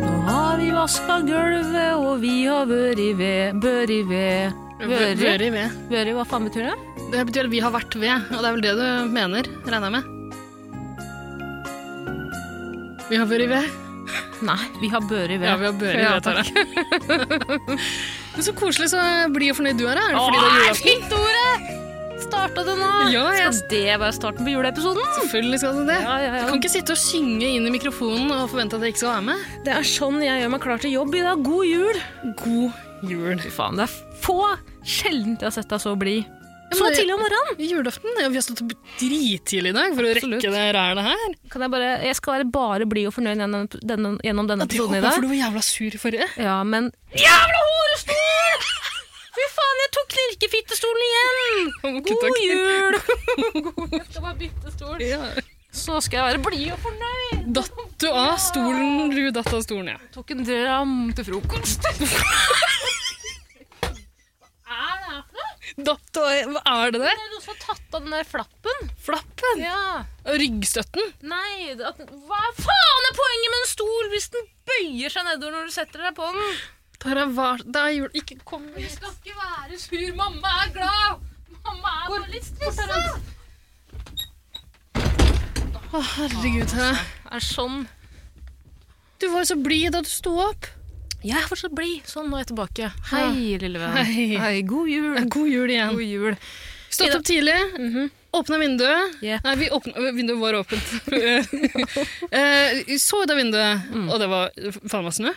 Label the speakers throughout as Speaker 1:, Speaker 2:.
Speaker 1: Nå har vi vaska gulvet, og vi har vært i ved, bør i ved.
Speaker 2: Vøre.
Speaker 1: Vøre,
Speaker 2: i ved.
Speaker 1: vøre, hva faen betyr det?
Speaker 2: Det betyr at vi har vært ved, og det er vel det du mener, regner jeg med. Vi har vært ved.
Speaker 1: Nei, vi har bør i ved.
Speaker 2: Ja, vi har bør i ved, Tara.
Speaker 1: takk.
Speaker 2: Men så koselig så blid og fornøyd du er, da. Er det
Speaker 1: Åh,
Speaker 2: fordi det er julaften?
Speaker 1: fint ordet! Starta det nå?
Speaker 2: Ja, jeg-
Speaker 1: Skal det være starten på juleepisoden?
Speaker 2: Selvfølgelig skal du det.
Speaker 1: Ja, ja, ja.
Speaker 2: Du kan ikke sitte og synge inn i mikrofonen og forvente at jeg ikke skal være med.
Speaker 1: Det er sånn jeg gjør meg klar til jobb i dag. God jul!
Speaker 2: God jul.
Speaker 1: Fy faen, det er få sjeldent jeg har sett deg så blid. Så
Speaker 2: men det-
Speaker 1: tidlig om morgenen!
Speaker 2: Julaften? Ja, vi har stått opp drittidlig i dag for å
Speaker 1: Absolutt.
Speaker 2: rekke det rælet her.
Speaker 1: Kan jeg, bare, jeg skal være bare blid og fornøyd gjennom denne, gjennom denne episoden i dag.
Speaker 2: for du var jævla sur i forrige.
Speaker 1: Ja, men Jævla horestol! Fy faen, jeg tok knirkefittestolen igjen! God jul! Jeg skal bare bytte stol.
Speaker 2: Ja.
Speaker 1: Så skal jeg være blid og fornøyd.
Speaker 2: Datt du av stolen? Du datt av stolen, ja.
Speaker 1: Tok en dram til frokost. Hva er det her for noe?
Speaker 2: Datt du av? Hva er
Speaker 1: Det
Speaker 2: det der?
Speaker 1: er noen som har tatt av den der flappen.
Speaker 2: Flappen?
Speaker 1: Ja.
Speaker 2: Ryggstøtten?
Speaker 1: Nei, det- at, hva faen er poenget med en stol hvis den bøyer seg nedover når du setter deg på den?
Speaker 2: Tara, hva Det er jul... Ikke kom
Speaker 1: Jeg skal ikke være sur. Mamma er glad. Mamma er bare litt stressa.
Speaker 2: Å, herregud, Tara.
Speaker 1: Er sånn.
Speaker 2: Du var jo så blid da du sto opp.
Speaker 1: Jeg er fortsatt blid. Sånn, nå er jeg tilbake. Hei, lille venn.
Speaker 2: Hei.
Speaker 1: god jul.
Speaker 2: God jul Mhm. iggen.
Speaker 1: God jul.
Speaker 2: Stått opp tidlig, åpna vinduet.
Speaker 1: Yep.
Speaker 2: Nei, vi åpna, vinduet var åpent. Eh, vi så ut av vinduet, og det var faen meg snø.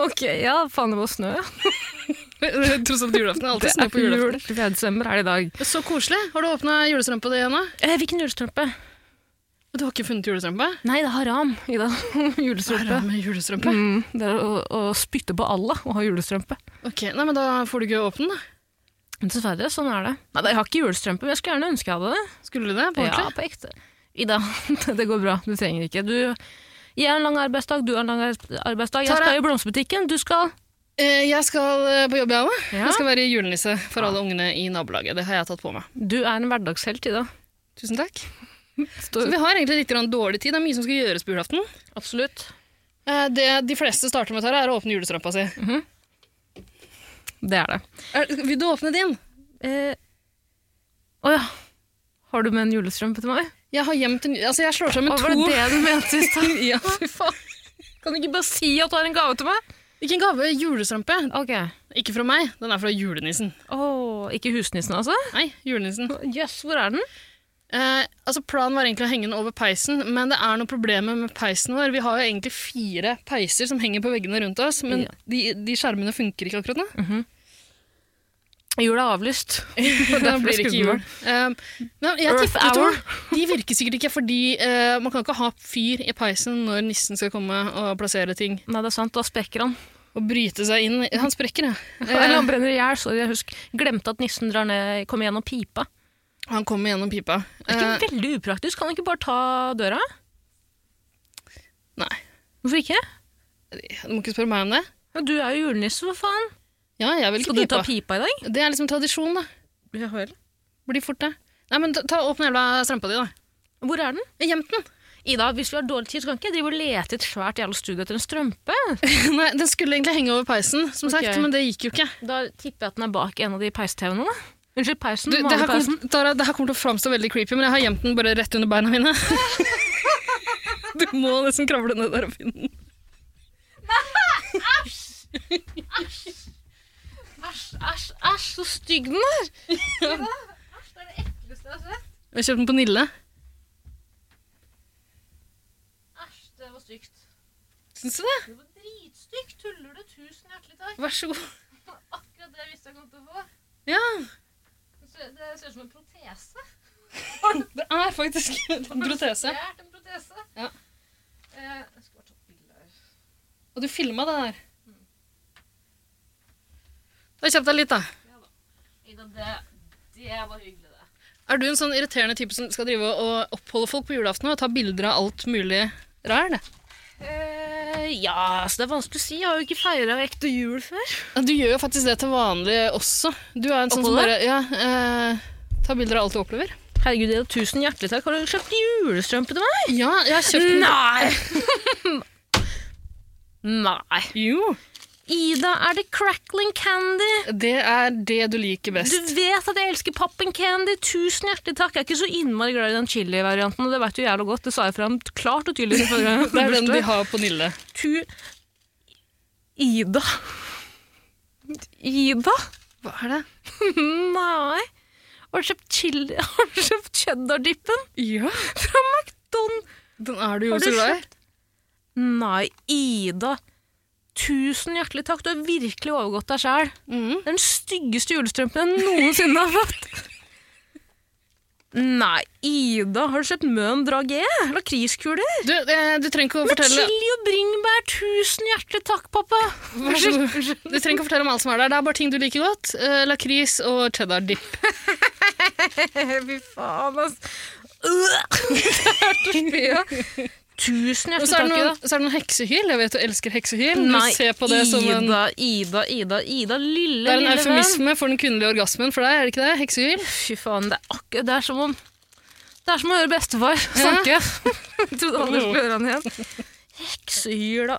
Speaker 1: Ok, ja, faen det var snø.
Speaker 2: Tross alt julaften. det er Alltid snø på julaften.
Speaker 1: jul. 4. desember er det i dag.
Speaker 2: Så koselig. Har du åpna julestrømpa di ennå?
Speaker 1: Eh, hvilken julestrømpe?
Speaker 2: Du har ikke funnet julestrømpe?
Speaker 1: Nei, det er haram, Ida.
Speaker 2: Hva er det
Speaker 1: julestrømpe.
Speaker 2: med julestrømpe?
Speaker 1: Mm, det er å, å spytte på alle og ha julestrømpe.
Speaker 2: Ok, nei, men Da får du ikke åpne den, da.
Speaker 1: Dessverre, sånn er det. Nei, da, jeg har ikke julestrømpe, men jeg skulle gjerne ønske jeg hadde det.
Speaker 2: Skulle du det? på
Speaker 1: Ja,
Speaker 2: ordentlig?
Speaker 1: på ekte. Ida, det går bra. Du trenger ikke. Du, jeg har en lang arbeidsdag, du har en lang ar- arbeidsdag. Jeg
Speaker 2: Tara.
Speaker 1: skal i blomsterbutikken, du skal
Speaker 2: Eh, jeg skal eh, på jobb, jeg òg.
Speaker 1: Ja.
Speaker 2: Jeg skal være julenisse for alle ungene i nabolaget. Det har jeg tatt på meg.
Speaker 1: Du er en hverdagshelt, Ida.
Speaker 2: Tusen takk.
Speaker 1: Står-
Speaker 2: Så vi har egentlig litt grann dårlig tid. Det er mye som skal gjøres på julaften.
Speaker 1: Absolutt.
Speaker 2: Eh, det de fleste starter med, Tara, er å åpne julestrømpa si.
Speaker 1: Det er det.
Speaker 2: Er, vil du åpne din?
Speaker 1: Å ja. Har du med en julestrømpe til meg?
Speaker 2: Jeg har gjemt en Altså, jeg slår sammen
Speaker 1: Å, var det
Speaker 2: to
Speaker 1: det du mente i stad?
Speaker 2: ja.
Speaker 1: Fy faen. Kan du ikke bare si at du har en gave til meg?
Speaker 2: Ikke en gave. Julestrømpe.
Speaker 1: Ok.
Speaker 2: Ikke fra meg. Den er fra julenissen.
Speaker 1: Åh, ikke husnissen, altså?
Speaker 2: Nei, julenissen.
Speaker 1: Jøss, hvor er den?
Speaker 2: Eh, altså Planen var egentlig å henge den over peisen, men det er noen problemer med peisen vår. Vi har jo egentlig fire peiser som henger på veggene rundt oss, men
Speaker 1: Ja.
Speaker 2: de, de skjermene funker ikke akkurat nå.
Speaker 1: Jula er avlyst.
Speaker 2: Da blir det ikke jul. Eh, men jeg
Speaker 1: Earth
Speaker 2: tipper, vet du hva?
Speaker 1: hour.
Speaker 2: De virker sikkert ikke, fordi eh, man kan ikke ha fyr i peisen når nissen skal komme og plassere ting.
Speaker 1: Nei, det er sant. Da sprekker han.
Speaker 2: Og bryte seg inn. Han sprekker, ja. Eh,
Speaker 1: Eller han brenner i hjel. Sorry, jeg husker. Glemte at nissen drar ned, kommer gjennom pipa.
Speaker 2: Han kommer gjennom pipa.
Speaker 1: Det er
Speaker 2: Eh,
Speaker 1: ikke veldig upraktisk. Kan han ikke bare ta døra?
Speaker 2: nei,
Speaker 1: Hvorfor ikke?
Speaker 2: du må ikke spørre meg om det.
Speaker 1: Ja, Du er jo julenisse, for faen.
Speaker 2: Ja, jeg vil
Speaker 1: Skal
Speaker 2: ikke
Speaker 1: du ta
Speaker 2: pipa.
Speaker 1: pipa i dag?
Speaker 2: Det er liksom tradisjon, da.
Speaker 1: Ja vel.
Speaker 2: Blir fort det. Nei, men ta, ta opp den jævla strømpa di, da.
Speaker 1: Hvor er den?
Speaker 2: Gjemt den.
Speaker 1: Ida, hvis vi har dårlig tid, så kan ikke jeg drive og lete i et svært jævla studio etter en strømpe.
Speaker 2: Nei, Den skulle egentlig henge over peisen, som
Speaker 1: Ok.
Speaker 2: sagt, men det gikk jo ikke.
Speaker 1: Da tipper jeg at den er bak en av de peis-TV-ene. da. Unnskyld, peisen.
Speaker 2: Du, det,
Speaker 1: vanlig
Speaker 2: her
Speaker 1: peisen.
Speaker 2: kommer, Tara, det her kommer til å framstå veldig creepy, men jeg har gjemt den bare rett under beina mine. du må nesten kravle ned der og finne den.
Speaker 1: Æsj, æsj, æsj, så stygg den er!
Speaker 2: Jeg har kjøpt den på Nille.
Speaker 1: Æsj, det var stygt.
Speaker 2: Syns du det?
Speaker 1: Det var dritstygt. Tuller du? Tusen hjertelig takk.
Speaker 2: Vær så god.
Speaker 1: Det var akkurat det jeg visste jeg kom til å få.
Speaker 2: Ja,
Speaker 1: Det ser- Det ser ut som en protese.
Speaker 2: det er faktisk en protese.
Speaker 1: Stjert en protese.
Speaker 2: Ja.
Speaker 1: Eh, jeg skulle vært
Speaker 2: Og du filma det der. Da kjapp deg litt, da.
Speaker 1: Ida, det, det var hyggelig, det.
Speaker 2: Er du en sånn irriterende type som skal drive og oppholde folk på julaften og ta bilder av alt mulig ræl?
Speaker 1: Eh, ja, så det er vanskelig å si. Jeg har jo ikke feira ekte jul før.
Speaker 2: Ja, Du gjør jo faktisk det til vanlig også. Du er en sånn som
Speaker 1: Oppholde?
Speaker 2: bare ja, eh, tar bilder av alt du opplever.
Speaker 1: Herregud, Ida, tusen hjertelig takk. Har du kjøpt julestrømpe til meg?
Speaker 2: Ja, jeg har kjøpt den.
Speaker 1: Nei! Nei.
Speaker 2: Jo,
Speaker 1: Ida, er det crackling candy?
Speaker 2: det er det du liker best.
Speaker 1: Du vet at jeg elsker popping candy. Tusen hjertelig takk. Jeg er ikke så innmari glad i den chili-varianten, og det vet du jævla godt. Det sa jeg fra ham klart og tydelig. forrige gang jeg
Speaker 2: Det er den de
Speaker 1: bursdag.
Speaker 2: har på Nille.
Speaker 1: Tu... Ida. Ida?
Speaker 2: Hva er det?
Speaker 1: Nei. Har du kjøpt chili? Har du kjøpt cheddar-dippen
Speaker 2: Ja,
Speaker 1: fra McDon?
Speaker 2: Den er du jo
Speaker 1: Har
Speaker 2: så
Speaker 1: du
Speaker 2: glad i.
Speaker 1: Nei, Ida. Tusen hjertelig takk. Du har virkelig overgått deg sjæl.
Speaker 2: Mhm.
Speaker 1: Den styggeste julestrømpen jeg noensinne har fått. Nei, Ida, har du kjøpt Møn Dragé? Lakriskuler?
Speaker 2: Du, eh, du trenger ikke å
Speaker 1: Med
Speaker 2: fortelle
Speaker 1: chili og bringebær. Tusen hjertelig takk, pappa.
Speaker 2: Vær så god. Du trenger ikke å fortelle om alt som er der. Det er bare ting du liker godt. Eh, Lakris og cheddar dip.
Speaker 1: Fy faen, altså. Øh. Det er så mye. Tusen
Speaker 2: Og
Speaker 1: hjertelig
Speaker 2: så er,
Speaker 1: takk, Ida.
Speaker 2: det noen, så er det noen heksehyl. Jeg vet du elsker heksehyl.
Speaker 1: Nei,
Speaker 2: du ser på det som en,
Speaker 1: Ida, Ida, Ida, Ida, lille,
Speaker 2: det er en
Speaker 1: lille venn.
Speaker 2: eufemisme for den kvinnelige orgasmen for deg, er det ikke det? Heksehyl?
Speaker 1: Fy faen, det er akkurat Det er som om Det er som å høre bestefar snakke. Jeg trodde aldri jeg skulle høre han igjen. Heksehyla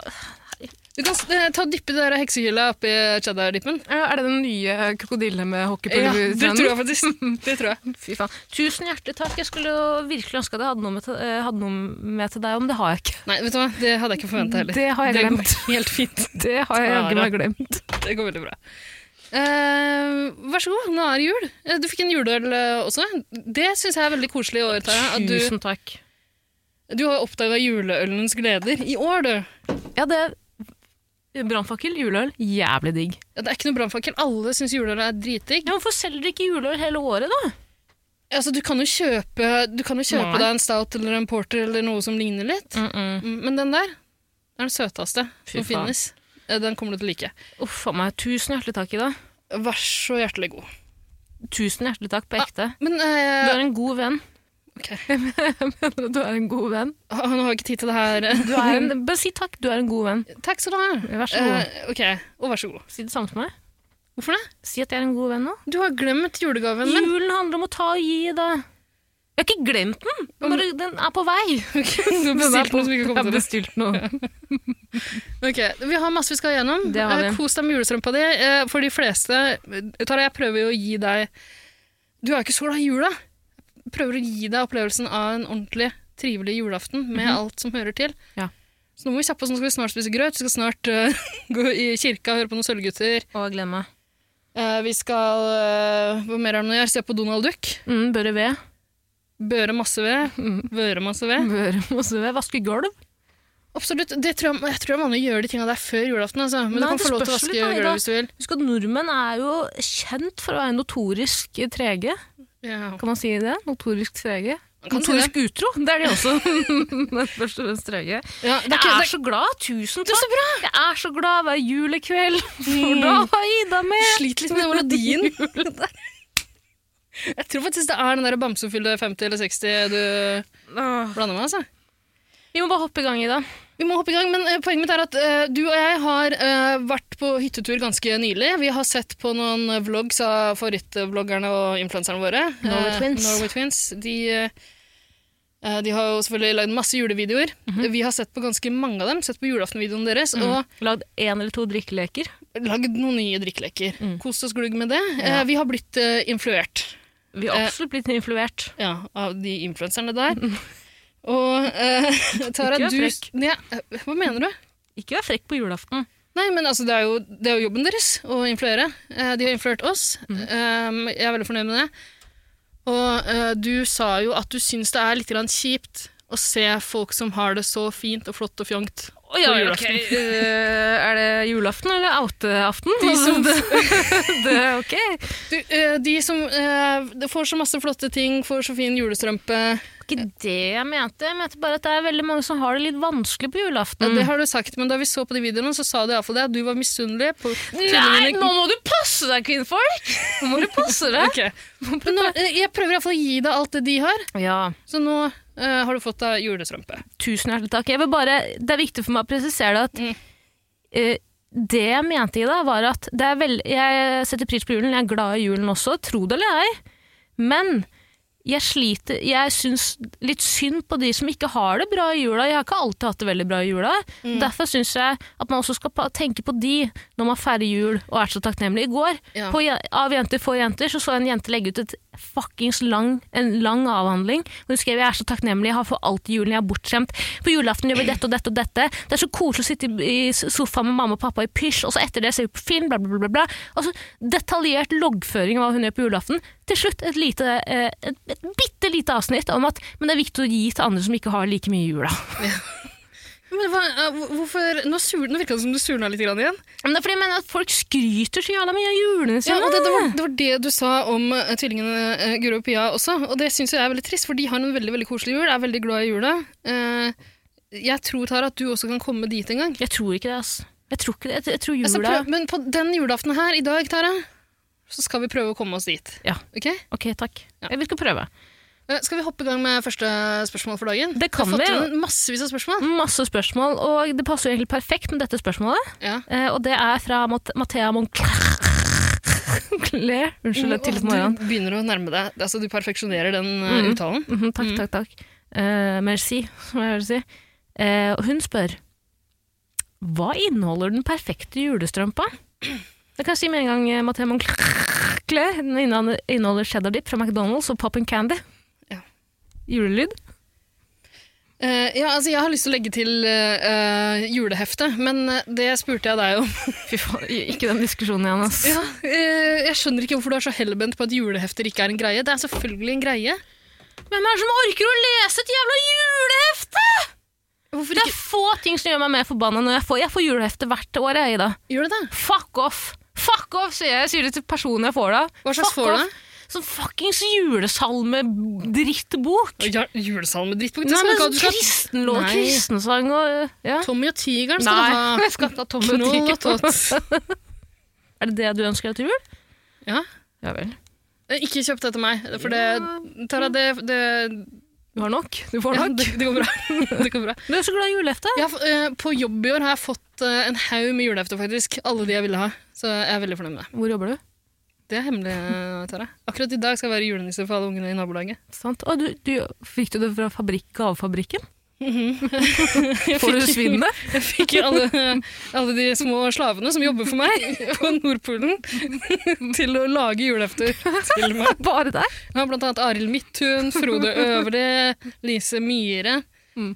Speaker 2: Du kan s- eh, ta og dyppe det der heksehyla oppi cheddar-dippen.
Speaker 1: Er det den nye krokodille med
Speaker 2: Ja,
Speaker 1: hockeypulver?
Speaker 2: det tror jeg faktisk. Det tror jeg.
Speaker 1: Fy faen. Tusen hjertelig takk. Jeg skulle jo virkelig ønske at jeg hadde noe med til, eh, hadde noe med til deg om. Det har jeg ikke.
Speaker 2: Nei, vet du hva? Det hadde jeg ikke forventa heller.
Speaker 1: Det har jeg
Speaker 2: går
Speaker 1: glemt.
Speaker 2: helt fint.
Speaker 1: Det har jeg jaggu meg glemt.
Speaker 2: Det går veldig bra. Eh, vær så god, nå er det jul. Eh, Du fikk en juleøl eh, også. Det syns jeg er veldig koselig i år, Tara. At du,
Speaker 1: Tusen takk.
Speaker 2: du har oppdaga juleølens gleder i år, du.
Speaker 1: Ja, det Brannfakkel, juleøl, jævlig digg.
Speaker 2: Ja, Det er ikke noe brannfakkel. Alle syns juleøl er dritdigg.
Speaker 1: Ja, Hvorfor selger dere ikke juleøl hele året, da?
Speaker 2: Altså, du kan jo kjøpe, du kan jo kjøpe
Speaker 1: Nei.
Speaker 2: deg en stout eller en porter eller noe som ligner litt. Mm, Men den der er den søteste
Speaker 1: Fy faen.
Speaker 2: som finnes. Eh, Den kommer du til å like.
Speaker 1: Uff a meg. Tusen hjertelig takk, Ida.
Speaker 2: Vær så hjertelig god.
Speaker 1: Tusen hjertelig takk på ekte.
Speaker 2: Men
Speaker 1: Du
Speaker 2: eh,
Speaker 1: er en god venn.
Speaker 2: ok.
Speaker 1: Jeg mener at du er en god venn.
Speaker 2: Ah, nå har jeg ikke tid til det her.
Speaker 1: Du er en, bare si takk, du er en god venn.
Speaker 2: Takk skal du ha.
Speaker 1: Vær så god.
Speaker 2: Eh, ok, og vær så god.
Speaker 1: Si det samme til meg.
Speaker 2: Hvorfor det?
Speaker 1: Si at jeg er en god venn nå.
Speaker 2: Du har glemt julegaven min.
Speaker 1: Julen handler om å ta og gi, da. Jeg har ikke glemt den, den bare den er på vei.
Speaker 2: Du har bestilt noe som ikke
Speaker 1: Jeg
Speaker 2: kom
Speaker 1: har
Speaker 2: til deg.
Speaker 1: bestilt noe.
Speaker 2: Ok, Vi har masse vi skal gjennom.
Speaker 1: Det har vi.
Speaker 2: Eh, Kos deg med julestrømpa di. Eh, For de fleste eh, Tara, jeg prøver jo å gi deg Du er jo ikke så glad i jula. Jeg prøver å gi deg opplevelsen av en ordentlig trivelig julaften med alt som hører til.
Speaker 1: Mhm. Ja.
Speaker 2: Så nå må vi kjappe oss, nå skal vi snart spise grøt, vi skal snart eh, gå i kirka og høre på noen sølvgutter.
Speaker 1: Å, jeg gleder meg.
Speaker 2: Eh, vi skal eh, Hva mer er det nå å gjøre? Se på Donald Duck.
Speaker 1: Mm, Børre ved.
Speaker 2: Børe masse ved.
Speaker 1: Mm.
Speaker 2: Vøre masse ved.
Speaker 1: Børre masse ved. Vaske gulv.
Speaker 2: Absolutt. Det tror jeg, jeg tror det er vanlig å gjøre de tinga der før julaften. Altså. Men
Speaker 1: Nei,
Speaker 2: du kan
Speaker 1: det
Speaker 2: få lov til å
Speaker 1: spørs
Speaker 2: vaske
Speaker 1: litt, nei,
Speaker 2: gulvet
Speaker 1: da.
Speaker 2: hvis du vil.
Speaker 1: Husk at nordmenn er jo kjent for å være notorisk trege.
Speaker 2: Ja.
Speaker 1: Kan man si det? Notorisk trege?
Speaker 2: Man kan si det.
Speaker 1: Notorisk utro, det er de også. Men først og fremst trege.
Speaker 2: Ja, det er
Speaker 1: Jeg
Speaker 2: ikke,
Speaker 1: er,
Speaker 2: det er
Speaker 1: så Mm. glad. Tusen takk. Jeg er så glad hver julekveld, for da var Ida
Speaker 2: jeg
Speaker 1: med.
Speaker 2: sliter litt med den melodien. Jeg tror faktisk det er den der bamsefylle 50 eller 60 du blander med. altså.
Speaker 1: Vi må bare hoppe i gang, Ida.
Speaker 2: Vi må hoppe i gang, men eh, poenget mitt er at eh, du og jeg har eh, vært på hyttetur ganske nylig. Vi har sett på noen eh, vlogs av favorittvloggerne og influenserne våre.
Speaker 1: Norway
Speaker 2: Eh,
Speaker 1: Twins.
Speaker 2: Norway Twins. De, eh, eh, de har jo selvfølgelig lagd masse julevideoer.
Speaker 1: Mhm.
Speaker 2: Vi har sett på ganske mange av dem. Sett på julaftenvideoen deres.
Speaker 1: Mm.
Speaker 2: og
Speaker 1: Lagd én eller to drikkeleker.
Speaker 2: lagd noen nye drikkeleker.
Speaker 1: Mm.
Speaker 2: Kost oss glugg med det.
Speaker 1: Ja.
Speaker 2: Eh, vi har blitt eh, influert
Speaker 1: Vi har absolutt blitt influert.
Speaker 2: ja, av de influenserne der. Og eh, Tara,
Speaker 1: Mhm. Ikke vær
Speaker 2: du
Speaker 1: frekk.
Speaker 2: Nei, eh, Hva mener du?
Speaker 1: Ikke vær frekk på julaften.
Speaker 2: Nei, men altså, det er jo, det er jo jobben deres å influere. Eh, de har influert oss.
Speaker 1: Mm.
Speaker 2: Eh, jeg er veldig fornøyd med det. Og eh, du sa jo at du syns det er litt grann kjipt å se folk som har det så fint og flott og fjongt. ja,
Speaker 1: På
Speaker 2: ja,
Speaker 1: julaften. Eh, er det julaften eller outeaften?
Speaker 2: De som-
Speaker 1: det, det, ok.
Speaker 2: Du, eh, de som eh, får så masse flotte ting, får så fin julestrømpe
Speaker 1: ikke det jeg mente. Jeg mente bare at det er veldig mange som har det litt vanskelig på
Speaker 2: Ja,
Speaker 1: julaften.
Speaker 2: det har du sagt, men da vi så på de videoene, så sa du iallfall det, at du var misunnelig. På
Speaker 1: Nei, nå må du passe deg, kvinnfolk! Nå må du passe deg.
Speaker 2: Ok. Men nå, eh, jeg prøver iallfall å gi deg alt det de har,
Speaker 1: Ja,
Speaker 2: så nå eh, har du fått deg julestrømpe.
Speaker 1: tusen hjertelig takk. Jeg vil bare, det er viktig for meg å presisere det at
Speaker 2: Mm.
Speaker 1: eh, det jeg mente i det, var at det er veld, jeg setter pris på julen, jeg er glad i julen også, tro det eller ei, men jeg sliter, jeg syns litt synd på de som ikke har det bra i jula. Jeg har ikke alltid hatt det veldig bra i jula.
Speaker 2: Mm.
Speaker 1: Derfor syns jeg at man også skal pa- tenke på de når man feirer jul og er så takknemlig. I går,
Speaker 2: Ja.
Speaker 1: på, Je- av Jenter for jenter, så så jeg en jente legge ut et fuckings lang, en lang avhandling. hvor Hun skrev 'Jeg er så takknemlig, jeg har for alt i julen, jeg er bortskjemt'. På julaften gjør vi dette og dette og dette. Det er så koselig å sitte i i sofaen med mamma og pappa i pysj, og så etter det ser vi på film, bla, bla, bla. bla, bla. Altså, detaljert loggføring av hva hun gjør på julaften. Til slutt et, lite, eh, et, et bitte lite avsnitt om at men det er viktig å gi til andre som ikke har like mye i jula.
Speaker 2: Men hva, eh, hvor- hvorfor, Nå, sur- nå virka det som du surna litt grann igjen.
Speaker 1: Men det er fordi jeg mener at folk skryter så jævla mye av julene
Speaker 2: Ja,
Speaker 1: sine.
Speaker 2: og det, det, var, det var det du sa om eh, tvillingene eh, Guro og Pia også, og det syns jeg er veldig trist, for de har en veldig veldig koselig jul, er veldig glad i jula. Eh, jeg tror Tara, at du også kan komme dit en gang.
Speaker 1: Jeg tror ikke det, ass. Jeg tror, ikke det. Jeg, jeg tror jula
Speaker 2: Altså, prøv, men på den julaften her i dag, Tara, så skal vi prøve å komme oss dit.
Speaker 1: Ja.
Speaker 2: Ok?
Speaker 1: Ok, takk. Jeg vil ikke prøve.
Speaker 2: Eh, Skal vi hoppe i gang med første spørsmål for dagen?
Speaker 1: Det kan
Speaker 2: vi. har
Speaker 1: vi, ja.
Speaker 2: fått inn massevis av spørsmål.
Speaker 1: Masse spørsmål, og det passer jo egentlig perfekt med dette spørsmålet.
Speaker 2: Ja.
Speaker 1: Eh, og det er fra Mat Mathea Moncler. Unnskyld, det er tidlig på morgenen.
Speaker 2: Du begynner å nærme deg. Altså, du perfeksjonerer den eh,
Speaker 1: Mhm.
Speaker 2: uttalen.
Speaker 1: Mhm, takk, takk, takk. Eh, merci, som jeg vil si. Eh, og hun spør Hva inneholder den perfekte julestrømpa? Det kan jeg si med en gang, eh, Mathea Moncler. Den inneholder- inneholder cheddar dip fra McDonald's og pop and candy.
Speaker 2: Ja.
Speaker 1: Julelyd.
Speaker 2: Eh, ja, altså, jeg har lyst til å legge til eh, eh, juleheftet, men eh, det spurte jeg deg om.
Speaker 1: Fy faen, ikke den diskusjonen igjen, ass.
Speaker 2: Ja, eh, jeg skjønner ikke hvorfor du er så hellbent på at julehefter ikke er en greie. Det er selvfølgelig en greie.
Speaker 1: Hvem er det som orker å lese et jævla julehefte?!
Speaker 2: Hvorfor
Speaker 1: Det er
Speaker 2: ikke?
Speaker 1: få ting som gjør meg mer forbanna når jeg får, jeg får julehefte hvert år, jeg, Ida.
Speaker 2: Gjør det det?
Speaker 1: Fuck off! Fuck off, sier jeg. Jeg sier det til personen jeg får det av.
Speaker 2: Hva slags
Speaker 1: Fuck
Speaker 2: får du
Speaker 1: off. Sånn fuckings julesalme-drittbok.
Speaker 2: Ja, julesalmedrittbok?
Speaker 1: Nei, men
Speaker 2: sånn
Speaker 1: sånn kristenlov og
Speaker 2: Nei.
Speaker 1: kristensang og ja.
Speaker 2: Tommy og tigeren skal
Speaker 1: Nei,
Speaker 2: du ha.
Speaker 1: jeg skal ikke ha Tom og
Speaker 2: Knott
Speaker 1: Dick.
Speaker 2: og
Speaker 1: Er det det du ønsker deg til jul?
Speaker 2: Ja.
Speaker 1: Ja vel.
Speaker 2: Eh, Ikke kjøp det til meg, for det Tara, det, det,
Speaker 1: Du har nok. Du får
Speaker 2: ja,
Speaker 1: nok.
Speaker 2: det, det går bra. det går bra.
Speaker 1: Du er så glad i julehefte.
Speaker 2: Jeg, har f- eh, på jobb i år har jeg fått eh, en haug med julehefter, faktisk. Alle de jeg ville ha. Så jeg er veldig fornøyd med det.
Speaker 1: Hvor jobber du?
Speaker 2: Det er hemmelig, eh, Tara. Akkurat i dag skal jeg være julenisse for alle ungene i nabolaget.
Speaker 1: Sant. Å, du, du, fikk du det fra fabrikk, gavefabrikken? Får du svinnet?
Speaker 2: Jeg fikk alle, eh, alle de små slavene som jobber for meg på Nordpolen, til å lage julehefter til meg.
Speaker 1: Bare der?
Speaker 2: Ja, blant annet Arild Midthun, Frode Øvre, Lise Myhre.
Speaker 1: Mm.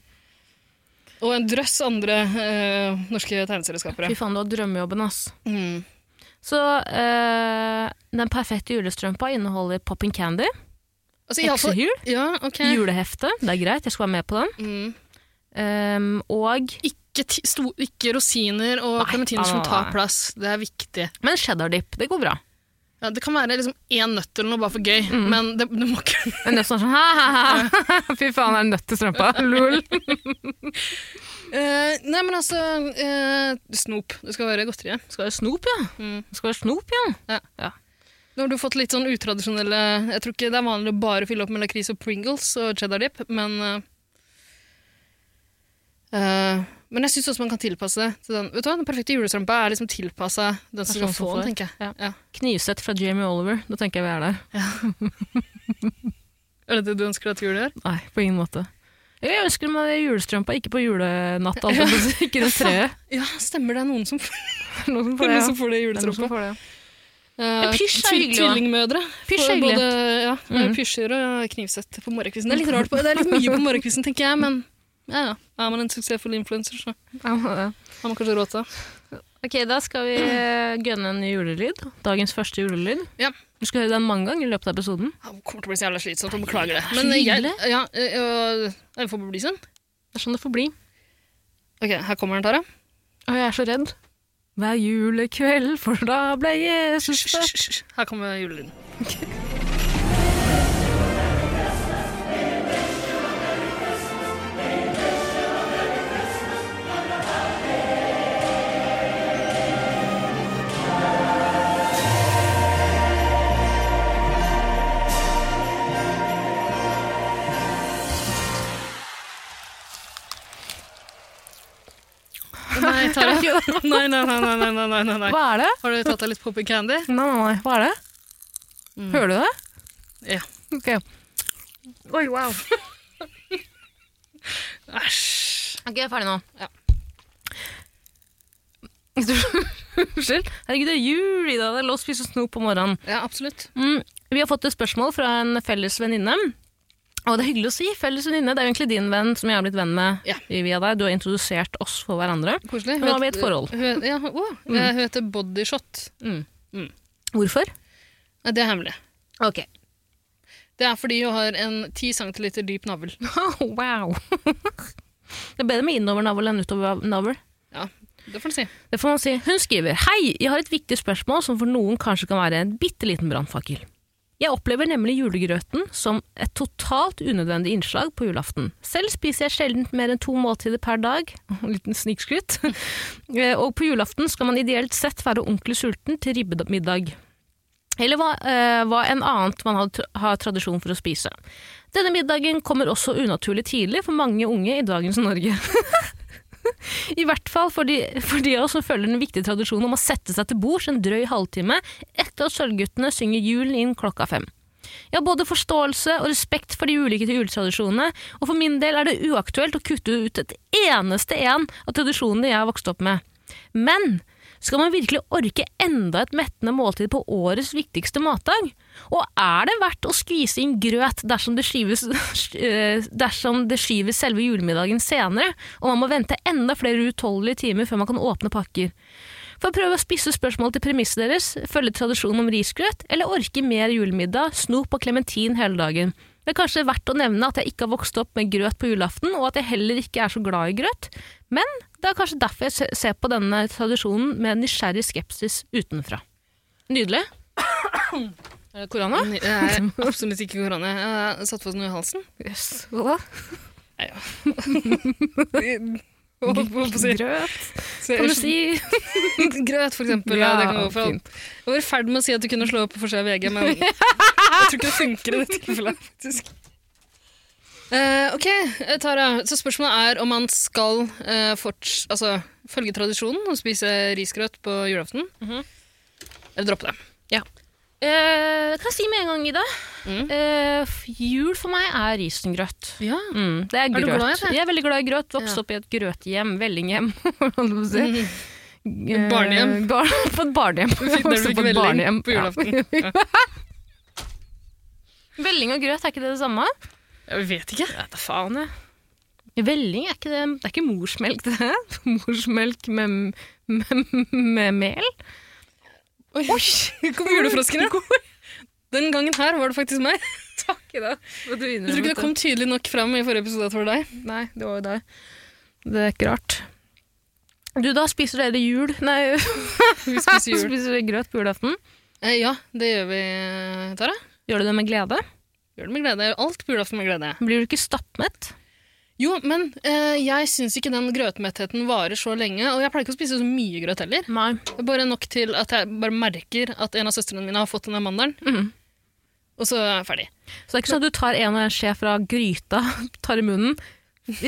Speaker 2: Og en drøss andre eh, norske tegneserieskapere.
Speaker 1: Fy faen, du har drømmejobben, ass.
Speaker 2: Mm.
Speaker 1: Så eh, den perfekte julestrømpa inneholder popping candy,
Speaker 2: Altså, i alle fall-
Speaker 1: heksehjul,
Speaker 2: ja, ok.
Speaker 1: julehefte. Det er greit, jeg skal være med på den.
Speaker 2: Mm.
Speaker 1: Ehm, og
Speaker 2: Ikke, ti- sto, ikke rosiner og
Speaker 1: Nei, Ah.
Speaker 2: klementiner
Speaker 1: nei,
Speaker 2: som
Speaker 1: nei,
Speaker 2: tar
Speaker 1: nei.
Speaker 2: plass. Det er viktig.
Speaker 1: Men cheddar dip, det går bra.
Speaker 2: Ja, det kan være liksom én nøtt eller noe bare for gøy, men det, det må ikke
Speaker 1: En nøtt som er sånn ha-ha-ha, fy faen, er det nøtt til strømpa? Lol.
Speaker 2: Eh, Nei, men altså eh, Snop. Det skal være godteri.
Speaker 1: Skal være snop, ja.
Speaker 2: Mm.
Speaker 1: Skal være snop, ja.
Speaker 2: Nå har du fått litt sånn utradisjonelle Jeg tror ikke det er vanlig å bare fylle opp med lakris og Pringles og cheddar dip, men eh, eh, Men jeg syns også man kan tilpasse det til den. Vet du hva, Den perfekte julestrømpa er liksom tilpassa den sånn som
Speaker 1: Personen
Speaker 2: skal få
Speaker 1: som får.
Speaker 2: den, tenker jeg.
Speaker 1: Knivsett fra Jamie Oliver, da tenker jeg vi er der.
Speaker 2: Er det det du ønsker deg til jul i år?
Speaker 1: Nei, på ingen måte. Jeg ønsker meg julestrømpa, ikke på julenatt, altså. Ikke det treet.
Speaker 2: Ja, stemmer det er noen som får,
Speaker 1: Noen som
Speaker 2: noen
Speaker 1: ja.
Speaker 2: som får det i
Speaker 1: Det er noen som
Speaker 2: julestrømpa.
Speaker 1: får det, ja.
Speaker 2: Eh,
Speaker 1: Ja, pysj er
Speaker 2: tvill-
Speaker 1: hyggelig, da.
Speaker 2: Tvillingmødre.
Speaker 1: Pysj
Speaker 2: Får
Speaker 1: er hyggelig.
Speaker 2: Både ja,
Speaker 1: Mm.
Speaker 2: pysjer og knivsett på morgenkvisten. Det er litt rart, på, det er litt mye på morgenkvisten, tenker jeg, men ja, ja. er man en suksessfull influenser, så
Speaker 1: Ja, må det.
Speaker 2: har man kanskje råd til det.
Speaker 1: Ok, da skal vi eh, gønne en julelyd. Dagens første julelyd.
Speaker 2: Ja.
Speaker 1: Du skal høre den mange ganger i løpet av episoden.
Speaker 2: Ja, Det kommer til å bli så jævla slitsomt, og beklager det.
Speaker 1: så
Speaker 2: Men jeg,
Speaker 1: hyggelig.
Speaker 2: ja, øh, jeg får bli sånn.
Speaker 1: Det er sånn det får bli.
Speaker 2: Ok, her kommer den, Tara.
Speaker 1: Og jeg er så redd. Hver julekveld, for da ble Jesus
Speaker 2: Hysj,
Speaker 1: født.
Speaker 2: hysj, hysj. Her kommer julelyden. Nei, Tara.
Speaker 1: Det var ikke det.
Speaker 2: Nei, nei, nei, nei, nei, nei, nei, nei, nei.
Speaker 1: Hva er det?
Speaker 2: Har du tatt deg litt popping candy?
Speaker 1: Nei, nei, nei. Hva er det?
Speaker 2: Mm.
Speaker 1: Hører du det?
Speaker 2: Ja.
Speaker 1: Ok. Oi, wow.
Speaker 2: Æsj.
Speaker 1: Ok, jeg er ferdig nå.
Speaker 2: Ja.
Speaker 1: Unnskyld. Herregud, det er jul i dag. Det er lov å spise snop på morgenen.
Speaker 2: Ja, absolutt.
Speaker 1: Mm, vi har fått et spørsmål fra en felles venninne. Og det er hyggelig å si felles venninne. Det er jo egentlig din venn som jeg har blitt venn med
Speaker 2: Ja.
Speaker 1: i- via deg. Du har introdusert oss for hverandre.
Speaker 2: Koselig.
Speaker 1: Men nå har vi et forhold.
Speaker 2: Hun, ja, å, eh, hun heter Bodyshot.
Speaker 1: Mm.
Speaker 2: Mm.
Speaker 1: Hvorfor?
Speaker 2: Nei, det er hemmelig.
Speaker 1: Ok.
Speaker 2: Det er fordi hun har en 10 cm dyp navl.
Speaker 1: wow. det er bedre med innovernavl enn utovernavl.
Speaker 2: Ja, det får du si.
Speaker 1: Det får man si. Hun skriver Hei, jeg har et viktig spørsmål som for noen kanskje kan være en bitte liten brannfakkel. Jeg opplever nemlig julegrøten som et totalt unødvendig innslag på julaften. Selv spiser jeg sjelden mer enn to måltider per dag, en liten snikskryt, Eh, og på julaften skal man ideelt sett være ordentlig sulten til ribbemiddag. Eller hva, eh, hva enn annet man har, tr- har tradisjon for å spise. Denne middagen kommer også unaturlig tidlig for mange unge i dagens Norge. I hvert fall for de, for de av oss som følger den viktige tradisjonen om å sette seg til bords en drøy halvtime etter at Sølvguttene synger julen inn klokka fem. Jeg har både forståelse og respekt for de ulike juletradisjonene, og for min del er det uaktuelt å kutte ut et eneste en av tradisjonene jeg har vokst opp med. Men skal man virkelig orke enda et mettende måltid på årets viktigste matdag? Og er det verdt å skvise inn grøt dersom det skyves, eh, dersom det skyves selve julemiddagen senere, og man må vente enda flere utholdelige timer før man kan åpne pakker? For å prøve å spisse spørsmålet til premisset deres, følge tradisjonen om risgrøt, eller orke mer julemiddag, snop og klementin hele dagen. Det er kanskje verdt å nevne at jeg ikke har vokst opp med grøt på julaften, og at jeg heller ikke er så glad i grøt, men det er kanskje derfor jeg se- ser på denne tradisjonen med en nysgjerrig skepsis utenfra. Nydelig. Er det korona?
Speaker 2: Det er absolutt ikke korona. Jeg har satt fast noe i halsen.
Speaker 1: Yes. Hva da?
Speaker 2: Hva holdt på å si?
Speaker 1: Grøt,
Speaker 2: Så
Speaker 1: kan du
Speaker 2: jeg-
Speaker 1: si.
Speaker 2: Grøt, for eksempel. Ja, det kan gå for alt. Jeg var i ferd med å si at du kunne slå opp på forsida av VG, men jeg tror ikke det funker i dette tilfellet, faktisk. Eh, ok, eh, Tara. Så spørsmålet er om man skal eh, forts altså, følge tradisjonen og spise risgrøt på julaften. Eller droppe det.
Speaker 1: Eh, kan jeg si med en gang, Ida?
Speaker 2: Mm.
Speaker 1: Eh, f- jul for meg er risengrøt.
Speaker 2: Ja.
Speaker 1: Mm, det er
Speaker 2: du
Speaker 1: grøt.
Speaker 2: glad i det?
Speaker 1: Jeg er veldig glad i grøt. Vokste
Speaker 2: Ja.
Speaker 1: opp i et grøthjem, vellinghjem. holdt jeg på å si.
Speaker 2: Mhm.
Speaker 1: Eh,
Speaker 2: Barnehjem.
Speaker 1: Bar på et barnehjem.
Speaker 2: Der
Speaker 1: Vokste opp
Speaker 2: blir
Speaker 1: på et
Speaker 2: ikke velling
Speaker 1: barnehjem.
Speaker 2: på julaften.
Speaker 1: Ja.
Speaker 2: Ja.
Speaker 1: Velling og grøt, er ikke det det samme?
Speaker 2: Jeg vet ikke.
Speaker 1: Vet da faen, jeg. Velling er ikke det Det er ikke morsmelk, det. Morsmelk med, med, med mel.
Speaker 2: Oi, kom julefroskene. Den gangen her var det faktisk meg.
Speaker 1: Takk i dag. Jeg
Speaker 2: Jeg tror ikke det kom tydelig nok fram i forrige episode at det var deg.
Speaker 1: Nei, det var jo deg. Det er ikke rart. Du, da spiser dere jul Nei,
Speaker 2: Vi spiser jul.
Speaker 1: spiser dere grøt på julaften.
Speaker 2: Eh, ja, det gjør vi, eh, Tara.
Speaker 1: Gjør du det med glede?
Speaker 2: Gjør det med glede. Jeg gjør Alt på julaften med glede.
Speaker 1: Blir du ikke stappmett?
Speaker 2: Jo, men eh, jeg syns ikke den grøtmettheten varer så lenge. Og jeg pleier ikke å spise så mye grøt heller.
Speaker 1: Nei.
Speaker 2: Bare nok til at jeg bare merker at en av søstrene mine har fått denne mandelen.
Speaker 1: Mhm.
Speaker 2: Og så er jeg ferdig.
Speaker 1: Så det er ikke sånn at du tar en og en skje fra gryta, tar i munnen,